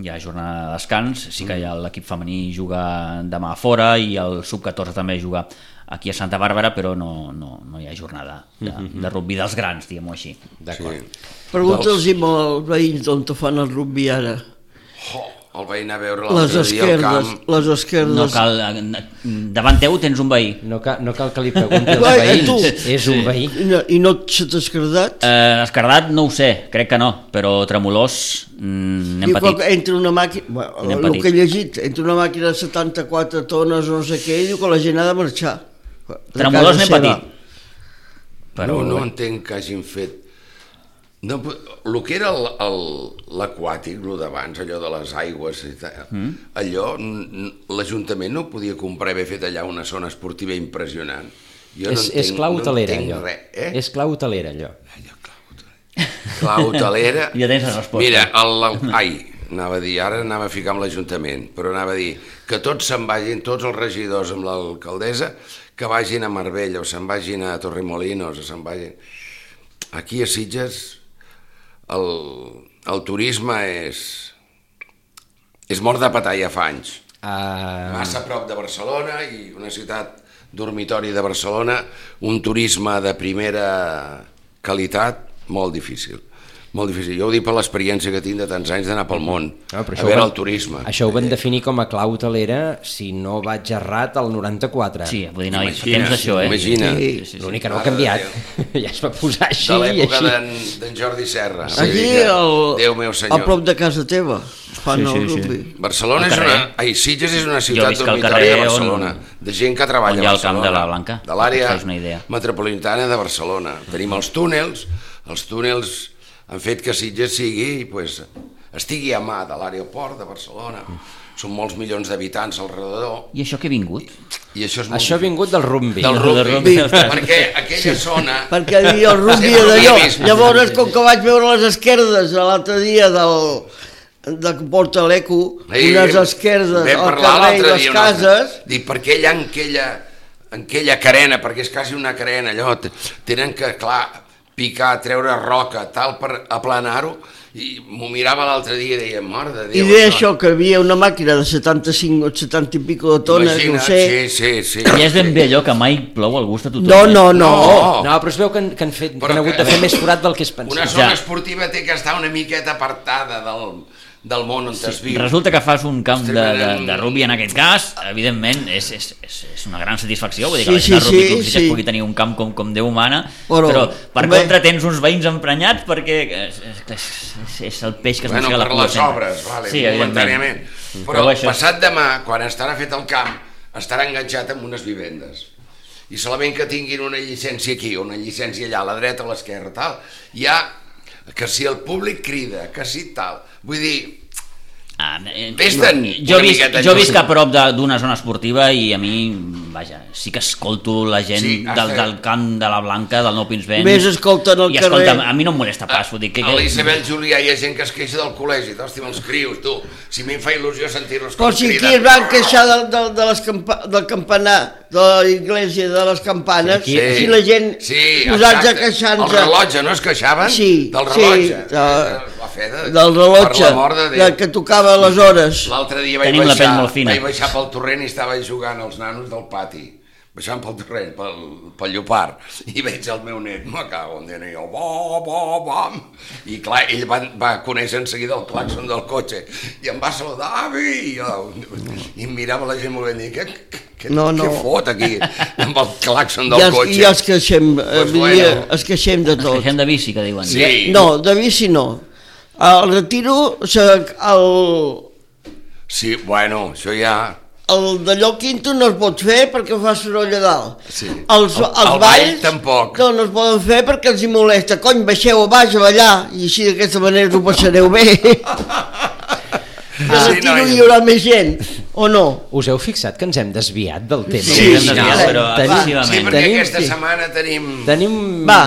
S4: hi ha jornada de descans, sí que hi
S2: Mm.
S4: ha l'equip femení juga demà a fora i el sub-14 també juga aquí a Santa Bàrbara, però no, no, no hi ha jornada de,
S2: Mm-hmm.
S4: de rugby dels grans, diguem-ho així.
S1: D'acord.
S2: Pregunta'ls als veïns d'on te fan el rugby ara.
S3: Oh, el vaig anar a veure
S2: Les
S3: l'altre dia al
S2: esquerdes,
S3: camp.
S2: les esquerdes.
S4: No cal, davant teu tens un veí.
S1: No, cal, no cal que li pregunti als
S2: Vai, tu.
S1: veïns, és un
S4: Sí.
S1: veí.
S2: I no, i no se t'ha esquerdat?
S4: Eh, escardat no ho sé, crec que no, però tremolós mm,
S2: I
S4: n'hem
S2: quan
S4: patit.
S2: entra una màquina, bueno,
S4: N'hem
S2: el
S4: patit.
S2: que he llegit, entra una màquina de 74 tones o no sé què, i diu que la gent ha de marxar. De
S4: Tremolós
S2: casa
S4: n'hem
S2: seva.
S4: patit.
S3: No,
S4: Però,
S3: no entenc que hagin fet... No, el que era el- el- l'aquàtic, el d'abans, allò de les aigües, i tal,
S4: Mm.
S3: allò n- n- l'Ajuntament no podia comprar haver fet allà una zona esportiva impressionant. Jo
S1: És,
S3: no entenc,
S1: és clau hotelera,
S3: no entenc
S1: allò.
S3: Res, eh?
S1: És clau hotelera, allò.
S3: Allò, clau hotelera. Clau hotelera...
S4: Ja tens la resposta.
S3: Mira, el, el, ai, anava a dir, ara anava a ficar amb l'Ajuntament, però anava a dir que tots se'n vagin, tots els regidors amb l'alcaldessa, que vagin a Marbella, o se'n vagin a Torremolinos, o se'n vagin... Aquí a Sitges el, el turisme és... és mort de patalla fa anys
S1: Uh,
S3: massa a prop de Barcelona i una ciutat dormitori de Barcelona, un turisme de primera qualitat molt difícil. Molt difícil. Jo ho dic per l'experiència que tinc de tants anys d'anar pel món, a veure el turisme.
S1: Això ho van definir com a clau hotelera, si no vaig errat, al 94.
S4: sí, vull dir, no, fa
S3: Imagina,
S4: temps d'això, eh?
S3: imagina.
S4: Sí, sí, sí.
S1: L'únic que no ha
S3: Mare de
S1: canviat. ja es va posar així
S3: De
S1: i
S3: l'època
S1: així.
S3: d'en d'en Jordi Serra. Vull
S2: Aquí,
S3: dir que-
S2: el,
S3: Déu meu
S2: a
S3: senyor.
S2: prop de casa teva, fan sí, sí, el rugby. Sí.
S3: Barcelona
S4: Al
S3: és
S4: carrer.
S3: una... Ai, Sitges és una
S4: Jo
S3: ciutat
S4: visc al
S3: dormitòria de
S4: carrer on-
S3: Barcelona, de gent que treballa
S4: on hi ha
S3: a
S4: el Camp
S3: Barcelona.
S4: de la Blanca,
S3: De l'àrea
S4: per fer-vos una idea.
S3: metropolitana de Barcelona. Tenim els túnels, els túnels han fet que Sitges sigui, pues, estigui a mà de l'aeroport de Barcelona. Són molts milions d'habitants al redador
S4: I això que he vingut?
S3: i això és molt
S1: Això ha
S3: difícil.
S1: vingut del rumbi.
S3: del rugby,
S4: rugby.
S3: perquè aquella zona
S2: Perquè dir el rugby
S3: Sempre
S2: era d'allò.
S3: l'amicisme.
S2: Llavors, com que vaig veure les esquerdes l'altre dia del de que porta l'eco,
S3: Ei,
S2: unes esquerdes
S3: vam
S2: al carrer
S3: parlar
S2: i
S3: l'altre
S2: les
S3: dia, un altre-
S2: cases,
S3: Dic, per què allà en aquella, en aquella carena, perquè és quasi una carena, allò, t- tenen que, clar, picar, treure roca, tal, per aplanar-ho, i m'ho mirava l'altre dia i deia, mort de
S2: i
S3: Déu.
S2: deia això, que hi havia una màquina de 75 o 70 i pico de tones,
S3: Imagina't,
S2: no ho sé,
S3: Sí, sí, sí.
S4: Ja és ben bé allò que mai plou al gust de tothom.
S2: No,
S4: eh?
S2: no, no.
S3: No.
S1: No, però es veu que han, que han, fet, que
S3: Però
S1: han hagut
S3: que-
S1: de fer més forat del que es
S3: Una
S1: pensava.
S3: zona
S4: Ja.
S3: esportiva té que estar una miqueta apartada del, del món on es viu.
S4: Resulta que fas un camp de, de, de
S3: Tremendament.
S4: rugby en aquest cas, evidentment és, és, és, és una gran satisfacció, vull dir que
S2: Sí,
S4: la gent de
S2: sí,
S4: rugby
S2: sí,
S4: club sí, que
S2: sí.
S4: es pugui tenir un camp com, com Déu humana,
S2: Però,
S4: però, per
S2: home.
S4: contra tens uns veïns emprenyats perquè és, és, és, és el peix que es
S3: Bueno,
S4: mossega la
S3: per
S4: cua
S3: les
S4: sempre.
S3: obres, vale,
S4: sí,
S3: sí, momentàniament.
S4: evidentment.
S3: Però,
S4: Però això-
S3: passat demà, quan estarà fet el camp, estarà enganxat amb unes vivendes. I solament que tinguin una llicència aquí, una llicència allà, a la dreta, a l'esquerra, tal, hi ha que si el públic crida, que si tal... Vull dir,
S4: Ah, eh,
S3: Vés-te'n
S4: jo
S3: una
S4: visc,
S3: miqueta
S4: jo
S3: lluny.
S4: visc a prop de- d'una zona esportiva i a mi, vaja, sí que escolto la gent
S3: Sí,
S4: sí,
S3: has
S4: del,
S3: fet-
S4: del camp de la Blanca, del Nou Pinsbens.
S2: Més escolten al
S4: I escolta,
S2: carrer.
S4: a mi no em molesta pas, vull Ah, dir que...
S3: a l'Isabel Julià hi ha gent que es queixa del col·legi, t'hòstim, els crius, tu, si a mi em fa il·lusió sentir-los com
S2: Però si aquí
S3: criden.
S2: es van queixar de, de, de les campa del campanar, de l'església, de les campanes,
S1: Sí,
S2: sí, si la gent
S3: sí,
S2: posats a
S3: exacte.
S2: queixar-nos
S3: El rellotge, no es queixaven?
S2: Sí,
S3: del
S2: sí,
S3: rellotge.
S2: de-
S3: la fe de,
S2: del
S3: Eh, Per
S2: rellotge,
S3: l'amor de Déu.
S2: de que tocava les hores.
S3: L'altre dia vaig
S4: Tenim la
S3: baixar,
S4: pell molt fina.
S3: vaig baixar pel torrent i estava jugant els nanos del pati baixant pel torrent, pel, pel llopard, i veig el meu net, me cago en Déu, i jo, bo, bo, bom, i clar, ell va, va conèixer en seguida el claxon del cotxe, i em va saludar, avi, i, jo, i em mirava la gent molt bé, i dic, què, què,
S2: No, no.
S3: què fot aquí, amb el claxon del
S2: Ja, es-
S3: cotxe?
S2: ja es queixem, pues
S3: Pues
S2: bueno.
S3: bueno.
S2: es queixem de tot.
S4: Queixem de bici, que diuen.
S3: Sí.
S2: No, de bici no. El retiro, se, el,
S3: Sí, bueno, això ja...
S2: el d'allò quinto no es pot fer perquè fa soroll a dalt.
S3: Sí.
S2: Els,
S3: El-
S2: els
S3: el ball
S2: balls
S3: tampoc.
S2: No, no es poden fer perquè els hi molesta. Cony, baixeu a baix a ballar i així d'aquesta manera us ho passareu bé. Ah,
S3: Sí,
S2: sí, no,
S3: nois.
S2: hi haurà més gent, o no?
S1: Us heu fixat que ens hem desviat del tema?
S2: Sí,
S1: Ens
S2: sí,
S1: hem
S2: sí,
S1: desviat,
S2: però
S4: excessivament.
S3: Sí,
S1: tenim,
S3: perquè aquesta
S1: tenim,
S3: setmana tenim...
S1: tenim...
S2: Va.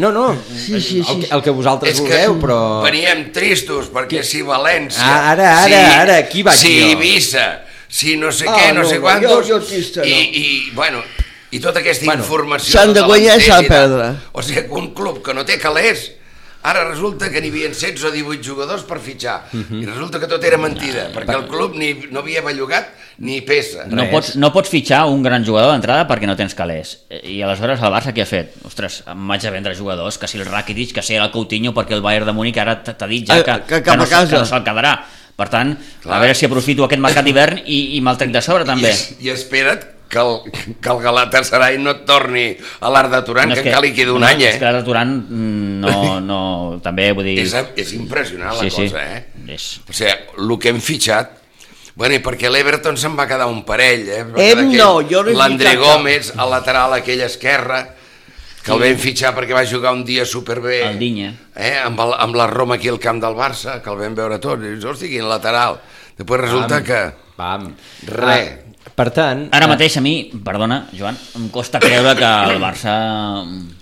S1: No, no,
S2: Sí, sí,
S1: el,
S2: sí.
S1: que- el que vosaltres
S3: És que
S1: vulgueu, però...
S3: veníem tristos, perquè si València...
S1: Ah, ara, ara, ara, qui vaig
S3: Si
S1: jo?
S3: Eivissa, si no sé
S2: Ah,
S3: què, no,
S2: no,
S3: sé
S2: no,
S3: quantos...
S2: jo- jo trista,
S3: i,
S2: no.
S3: I, bueno, i tota aquesta
S1: Bueno,
S3: informació...
S2: s'han de
S3: tota
S2: guanyar i s'ha de
S3: l'entesa i tal.
S2: perdre.
S3: O sigui, que un club que no té calés Ara resulta que n'hi havia 16 o 18 jugadors per fitxar.
S2: Mhm.
S3: I resulta que tot era
S2: Ah,
S3: mentida, perquè el club ni, no havia bellugat ni peça.
S4: No
S1: Res.
S4: pots, no pots fitxar un gran jugador d'entrada perquè no tens calés. I aleshores el Barça què ha fet? Ostres, em vaig a vendre jugadors, que si el Rakitic, que si el Coutinho, perquè el Bayern de Múnich ara t- t'ha dit ja
S2: Eh,
S4: que,
S2: que cap
S4: no,
S2: a
S4: se-
S2: casa.
S4: que no se'l quedarà. Per tant,
S3: Clar.
S4: a veure si aprofito aquest mercat d'hivern i, i me'l trec de sobre també.
S3: I, I espera't que el, que el Galatasaray no et torni a l'art de Turan, que,
S4: és
S3: que encara li queda un
S4: no,
S3: any, eh?
S4: És que ara Turan mm, no, no, també, vull dir...
S3: És, és impressionant la
S4: sí, sí.
S3: cosa, eh?
S4: És,
S3: O sigui, el que hem fitxat, bueno, i perquè l'Everton se'n va quedar un parell, eh? Va
S2: Em
S3: quedar
S2: no, jo no he
S3: L'André
S2: fitxat cap.
S3: Gómez, a lateral aquella esquerra, que el vam fitxar perquè va jugar un dia superbé.
S4: El Dinya.
S3: Eh? Amb, el, amb la Roma aquí al camp del Barça, que el vam veure tots. I dius, hosti, quin lateral. Després resulta que...
S1: Pam.
S3: Re.
S1: Ah, per tant...
S4: Ara mateix a mi, perdona, Joan, em costa creure que el Barça...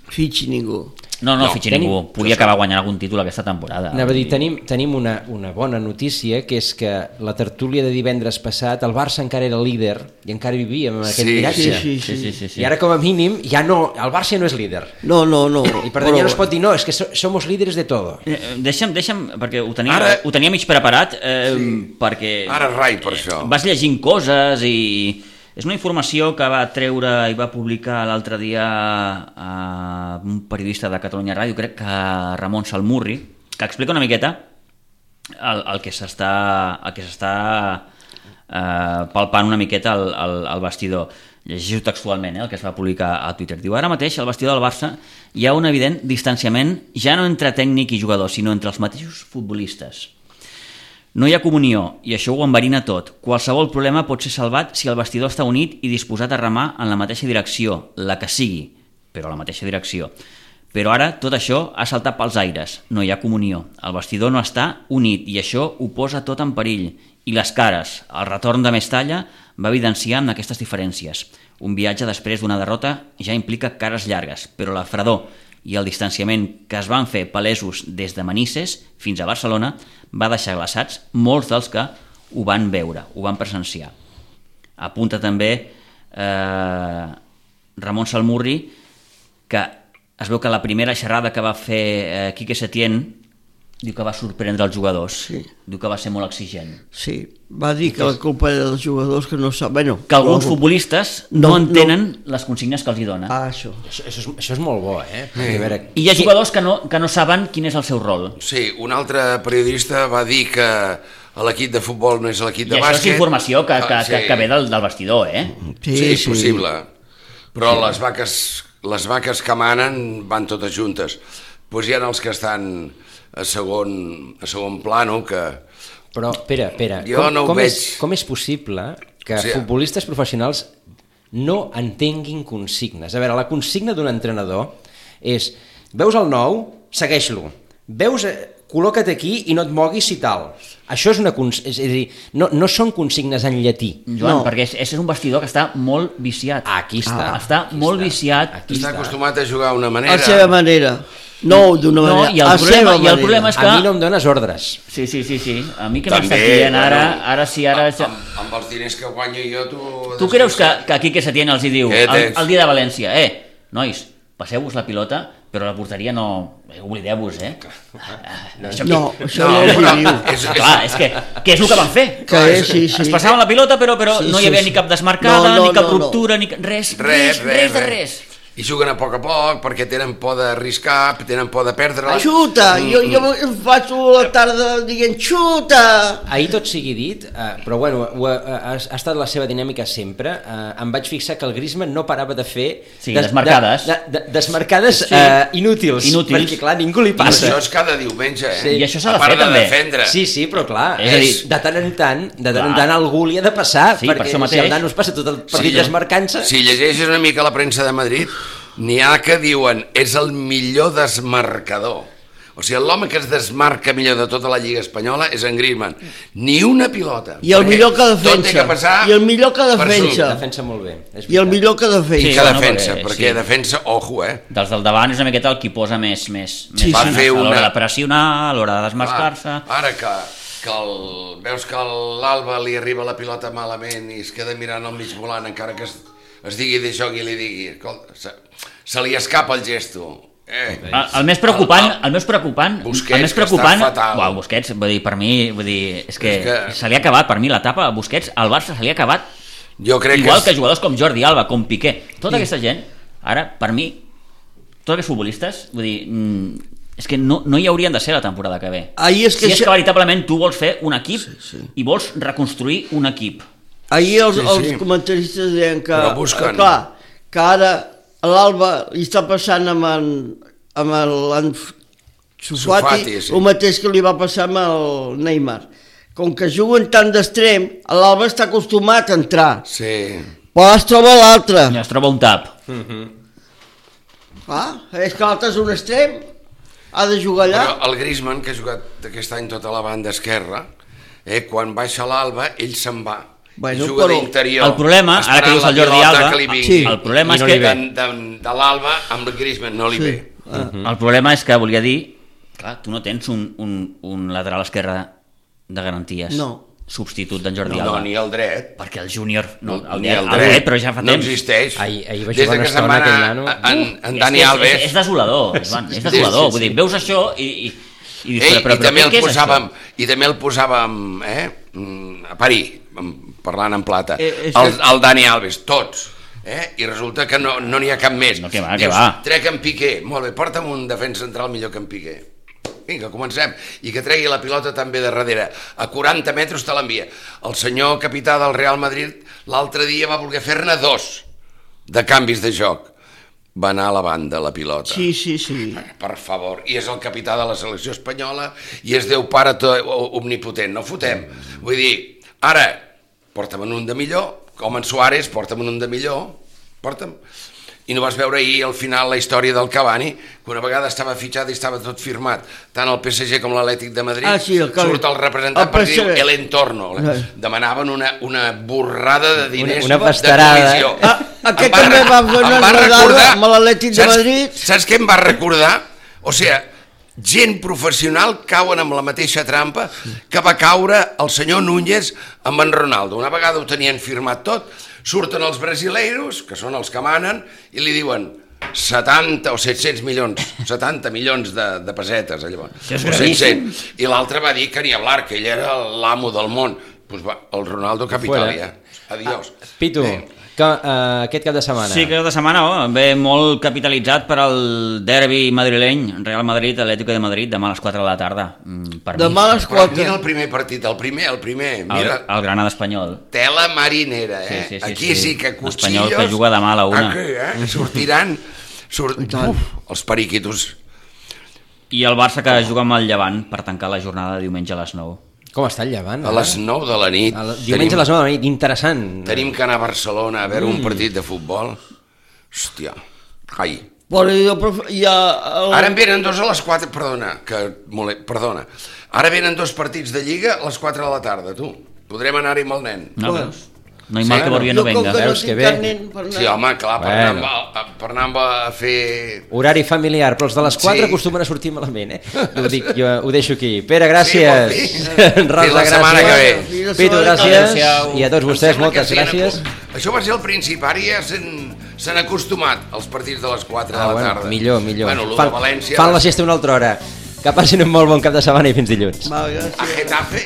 S2: Fitxi ningú.
S4: No, no,
S3: No,
S4: no fitxi
S1: tenim-
S4: ningú. Podia acabar guanyant algun títol aquesta temporada.
S1: Anava a dir,
S4: Vull dir,
S1: tenim, tenim una, una bona notícia, que és que la tertúlia de divendres passat, el Barça encara era líder i encara vivíem amb aquest
S3: Sí,
S1: miratge.
S2: sí, sí.
S4: Sí, sí, sí, sí.
S1: I ara, com a mínim, ja no, el Barça ja no és líder.
S2: No, no, no.
S1: I per tant ja no es pot dir, no, és que so, somos líderes de todo.
S4: Eh, Deixa'm, deixa'm, perquè ho tenia,
S3: Ara-
S4: ho tenia mig preparat, eh, sí. perquè...
S3: Ara rai per això.
S4: Vas llegint coses i... És una informació que va treure i va publicar l'altre dia eh, un periodista de Catalunya Ràdio, crec que Ramon Salmurri, que explica una miqueta el, el que s'està el que s'està eh, palpant una miqueta el, el, el vestidor llegeixo textualment eh, el que es va publicar a Twitter diu ara mateix al vestidor del Barça hi ha un evident distanciament ja no entre tècnic i jugador sinó entre els mateixos futbolistes no hi ha comunió, i això ho enverina tot. Qualsevol problema pot ser salvat si el vestidor està unit i disposat a remar en la mateixa direcció, la que sigui, però la mateixa direcció. Però ara tot això ha saltat pels aires, no hi ha comunió. El vestidor no està unit i això ho posa tot en perill. I les cares, el retorn de Mestalla va evidenciar amb aquestes diferències. Un viatge després d'una derrota ja implica cares llargues, però la fredor i el distanciament que es van fer palesos des de Manises fins a Barcelona va deixar glaçats molts dels que ho van veure, ho van presenciar. Apunta també eh, Ramon Salmurri que es veu que la primera xerrada que va fer eh, Quique Setién diu que va sorprendre els jugadors,
S2: Sí.
S4: diu que va ser molt exigent.
S2: Sí, va dir que la culpa era dels jugadors que no sap... Bueno,
S4: Que alguns
S2: no-
S4: futbolistes
S2: No,
S4: no,
S2: no.
S4: entenen les consignes que els hi dona.
S2: Ah, això.
S1: Això, això, és, això és molt bo, eh? Sí. A veure,
S4: I hi ha jugadors que no, que no saben quin és el seu rol.
S3: Sí, un altre periodista va dir que l'equip de futbol no és l'equip
S4: I
S3: de
S4: això
S3: bàsquet.
S4: és informació que, que,
S3: Ah,
S4: que, que ve del, del vestidor, eh?
S3: Sí, sí, sí. possible. Però sí. les vaques les vaques que manen van totes juntes. Doncs pues hi ha els que estan a segon, a segon plano, que...
S1: però, espera, espera.
S3: Jo no ho
S1: com
S3: veig.
S1: És, com és possible que
S3: O
S1: sí.
S3: sigui-
S1: futbolistes professionals no entenguin consignes? A veure, la consigna d'un entrenador és veus el nou, segueix-lo. Veus, eh, col·loca't aquí i no et moguis si tal. Això és una... Cons és a dir, no, no són consignes en llatí.
S4: Joan,
S2: No.
S4: no. perquè és, és un vestidor que està molt viciat.
S1: Aquí està.
S4: Ah, està molt viciat.
S1: Aquí
S3: Està
S1: està.
S3: acostumat a jugar d'una
S2: A
S3: manera.
S2: la seva manera. No d'una
S4: No,
S2: manera,
S4: i el
S2: a la
S4: problema-
S2: seva
S4: i el
S2: manera.
S4: problema és
S1: A mi no em dones ordres.
S4: Sí, sí, sí, sí. A mi que
S3: També,
S4: m'està dient ara,
S3: bueno,
S4: ara sí, ara...
S3: Amb, amb, amb els diners que guanyo jo, tu...
S4: Tu creus que, que aquí que Setién els hi diu
S3: Què
S4: el,
S3: Eh, tens?
S4: el dia de València, eh, nois, passeu-vos la pilota, però la porteria no... eh, Oblideu-vos, eh? No, això,
S2: No,
S4: aquí-
S2: això no, no ho diu.
S3: és, és,
S4: Clar, és que, que és el que van fer.
S2: Que és, sí, sí.
S4: Es passaven la pilota, però però
S2: Sí,
S4: no hi
S2: sí,
S4: havia
S2: sí.
S4: ni cap
S2: No,
S4: desmarcada,
S2: no,
S4: ni cap
S2: no, no.
S4: ruptura, ni cap... Res,
S3: res, res,
S4: res, de res.
S3: I juguen a poc a poc perquè tenen por d'arriscar, tenen por de perdre-la.
S2: Xuta,
S3: Mm,
S2: jo, jo em faig la tarda dient xuta.
S1: Ahir tot sigui dit, eh, però bueno, ho ha, ha, ha estat la seva dinàmica sempre, eh, em vaig fixar que el Griezmann no parava de fer...
S4: Sí, desmarcades.
S1: De, de, de, desmarcades
S4: Sí.
S1: sí. eh, inútils,
S4: Inútils.
S1: perquè clar, ningú li
S3: Però això
S1: passa.
S3: és cada diumenge, eh?
S1: Ah, Sí. I
S4: això s'ha
S3: a
S4: de
S3: part
S4: fer,
S3: de
S4: també.
S3: defendre.
S1: Sí, sí, però clar,
S4: És a dir-
S1: de tant en tant, de tant en
S4: Clar.
S1: tant algú li ha de passar,
S4: Sí, per
S1: perquè
S4: això
S1: si
S4: mateix.
S1: el nano es passa tot el partit
S3: Sí.
S1: sí, desmarcant-se...
S3: Si llegeixes una mica la premsa de Madrid, n'hi ha que diuen és el millor desmarcador. O sigui, l'home que es desmarca millor de tota la Lliga Espanyola és en Griezmann. Ni una pilota.
S2: I el
S3: Perquè
S2: millor que
S3: Tot té
S2: defensa.
S3: que passar
S2: I el millor que
S3: per
S2: defensa.
S3: sud.
S1: Defensa molt bé. És
S2: I el
S1: veritat.
S2: millor que
S3: I
S2: defensa.
S3: que
S4: Sí, no,
S3: defensa,
S4: perquè-
S3: perquè
S4: sí.
S3: defensa, ojo, eh?
S4: dels del davant és una miqueta el qui posa més més, més
S2: Sí, sí.
S4: ganes
S3: Va fer
S4: a l'hora
S3: una-
S4: de pressionar, a l'hora de desmarcar-se...
S3: Clar, Ara que, que el, veus que el- l'Alba li arriba la pilota malament i es queda mirant al mig volant encara que es, es digui de joc i li digui, escolta, se, se li escapa el gesto. Eh,
S4: El, el més preocupant,
S3: El-
S4: el, més preocupant,
S3: Busquets,
S4: el més
S3: que està
S4: preocupant,
S3: fatal.
S4: Uau, Busquets, vull dir, per mi, vull dir, és que,
S3: És que-
S4: se li ha acabat, per mi l'etapa a Busquets, al Barça se li ha acabat,
S3: jo crec
S4: igual
S3: que...
S4: que jugadors com Jordi Alba, com Piqué, tota aquesta gent, ara, per mi, tots aquests futbolistes, vull dir, mm, és que no, no hi haurien de ser la temporada que ve.
S2: Ahir és que
S4: si és
S2: això-
S4: que veritablement tu vols fer un equip sí,
S2: sí.
S4: sí. i vols reconstruir un equip.
S2: Ahir els, sí,
S3: Sí, sí.
S2: sí. els comentaristes deien que...
S3: Però busquen.
S2: eh, Clar, que ara a l'Alba li està passant amb en, amb el- l'en F- Sufati,
S3: Sufati, sí.
S2: sí. el mateix que li va passar amb el Neymar. Com que juguen tant d'extrem, l'Alba està acostumat a entrar,
S3: Sí.
S2: però es troba l'altre.
S4: I es troba un tap.
S2: Ah, és que l'altre és un extrem, ha de jugar allà.
S3: Però el Griezmann, que ha jugat aquest any tota la banda esquerra, eh, quan baixa l'alba, ell se'n va.
S2: Bueno,
S3: I juga
S2: però-
S3: d'interior.
S4: El problema, ara que
S3: esperant
S4: dius
S3: la
S4: el Jordi
S3: pilota
S4: Alba,
S3: que li
S4: sí.
S3: vingui.
S4: el problema
S1: I
S4: és
S1: no
S4: que
S1: li ve.
S3: de, de, de l'alba amb el Griezmann no li sí. ve.
S2: Ah.
S4: El problema és que volia dir, clar, tu no tens un, un, un lateral esquerre de garanties.
S2: No.
S4: Substitut d'en Jordi
S3: No, no,
S4: Alba.
S3: ni el dret.
S4: Perquè el júnior... No, el,
S3: ni
S4: dret, el dret, però ja fa
S3: no
S4: temps.
S3: existeix.
S1: Ahir- ahir va
S3: Des
S1: jugar
S3: de
S1: una
S3: que se'n
S1: estona
S3: va anar
S1: aquell nano.
S3: En, en
S4: És
S3: Dani
S4: que és,
S3: Alves...
S4: És, és desolador, Joan, és
S3: sí,
S4: desolador.
S3: sí,
S4: Vull dir, veus això i... i, i dius,
S3: Ei,
S4: però, però,
S3: i, també
S4: però,
S3: el
S4: què és
S3: posàvem,
S4: això?
S3: I també el posàvem eh, mm, a parir, mm, parlant en plata,
S2: Eh,
S3: eh,
S2: és
S3: el,
S2: que-
S3: el Dani Alves, tots. Eh? I resulta que no no n'hi ha cap més.
S4: No, que va, que va.
S3: Trec en Piqué, molt bé, porta'm un defensa central millor que en Piqué. Vinga, comencem. I que tregui la pilota també de darrere. A 40 metres te l'envia. El senyor capità del Real Madrid l'altre dia va voler fer-ne dos de canvis de joc. Va anar a la banda la pilota
S2: Sí, sí, sí.
S3: per favor, i és el capità de la selecció espanyola i és Déu pare to- o- omnipotent, no fotem. Vull dir, ara, porta'm en un de millor, com en Suárez, porta'm en un de millor, porta'm. I no vas veure ahir al final la història del Cavani, que una vegada estava fitxat i estava tot firmat, tant el PSG com l'Atlètic de Madrid,
S2: Ah, sí, el Cavani.
S3: surt el representant
S2: El
S3: per dir
S2: PSG.
S3: el entorno.
S2: Ah.
S3: Demanaven una, una borrada de diners
S1: Una- una
S3: de
S1: pastarada.
S3: comissió.
S2: Ah, aquest
S3: Em va-
S2: també va fer
S3: em
S2: una
S3: va
S2: enredada
S3: recordar-
S2: amb l'Atlètic de
S3: Saps-
S2: Madrid.
S3: Saps què em va recordar? O sigui, gent professional cauen amb la mateixa trampa que va caure el senyor Núñez amb en Ronaldo. Una vegada ho tenien firmat tot, surten els brasileiros, que són els que manen, i li diuen 70 o 700 milions, 70 milions de, de pessetes, allò.
S4: és
S3: O
S4: gravíssim.
S3: 700. I l'altre va dir que ni hablar, que ell era l'amo del món. Pues va, el Ronaldo Capitalia. Adiós.
S4: Ah,
S3: Eh,
S1: Pitu, que, uh, aquest cap de setmana...
S4: Sí, que de setmana oh, ve molt capitalitzat per al derbi madrileny, Real Madrid, Atlético de Madrid, demà a les 4 de la tarda. Mm, Per
S2: Demà a
S4: mi,
S2: les
S3: Però mira
S2: 4.
S3: el primer partit, el primer, el primer.
S4: el,
S3: Mira,
S4: el Granada espanyol.
S3: tela marinera, eh?
S4: Sí, sí, sí,
S3: Aquí
S4: sí.
S3: sí que
S4: L'Espanyol
S3: cuchillos...
S4: que juga demà a la una.
S3: Aquí, eh? Sortiran... Surt... Uf, els periquitos.
S4: I el Barça que juga amb el Llevant per tancar la jornada de diumenge a les 9.
S1: Com està el llevant?
S3: A les 9 de la nit.
S1: Eh? A la- Diumenge a les Mm. 9 de la nit, interessant.
S3: Tenim que anar a Barcelona a veure un partit de futbol. Hòstia. Ai.
S2: Però jo, pref- hi ha...
S1: Oh.
S2: El...
S3: Ara en venen dos a les 4, perdona, que mole... perdona. Ara venen dos partits de Lliga a les 4 de la tarda, tu. Podrem anar-hi amb el nen.
S4: No,
S2: Bueno.
S4: veus? No hi mal que
S3: bueno,
S4: Borja no
S2: jo com
S4: venga.
S2: que no
S1: Veus que
S2: tinc
S1: bé.
S2: cap nen per anar...
S3: Sí, home, clar, per,
S1: Bueno.
S3: anar, amb- a, per anar amb a fer
S1: Horari familiar, però els de les 4
S3: Sí.
S1: acostumen a sortir malament, eh? Ho, dic, jo, ho deixo aquí. Pere, gràcies.
S3: Sí, vol dir.
S1: En Rosa,
S3: Fins la
S1: gràcies.
S3: setmana que ve.
S2: Fins la
S1: Pitu,
S2: setmana que ve.
S1: gràcies.
S2: Adéu-siau.
S1: I a tots
S3: Em
S1: vostès,
S3: sembla que
S1: moltes
S3: s'hi han
S1: gràcies.
S3: acostum- Això va ser al principi, ara ja s'han- s'han acostumat als partits de les 4 de
S1: Ah,
S3: la
S1: bueno,
S3: tarda.
S1: millor, millor.
S3: Bueno, el de
S1: fan,
S3: València...
S1: fan la siesta una altra hora. Que passin un molt bon cap de setmana i fins dilluns.
S2: Va, gràcies.
S3: A Getafe...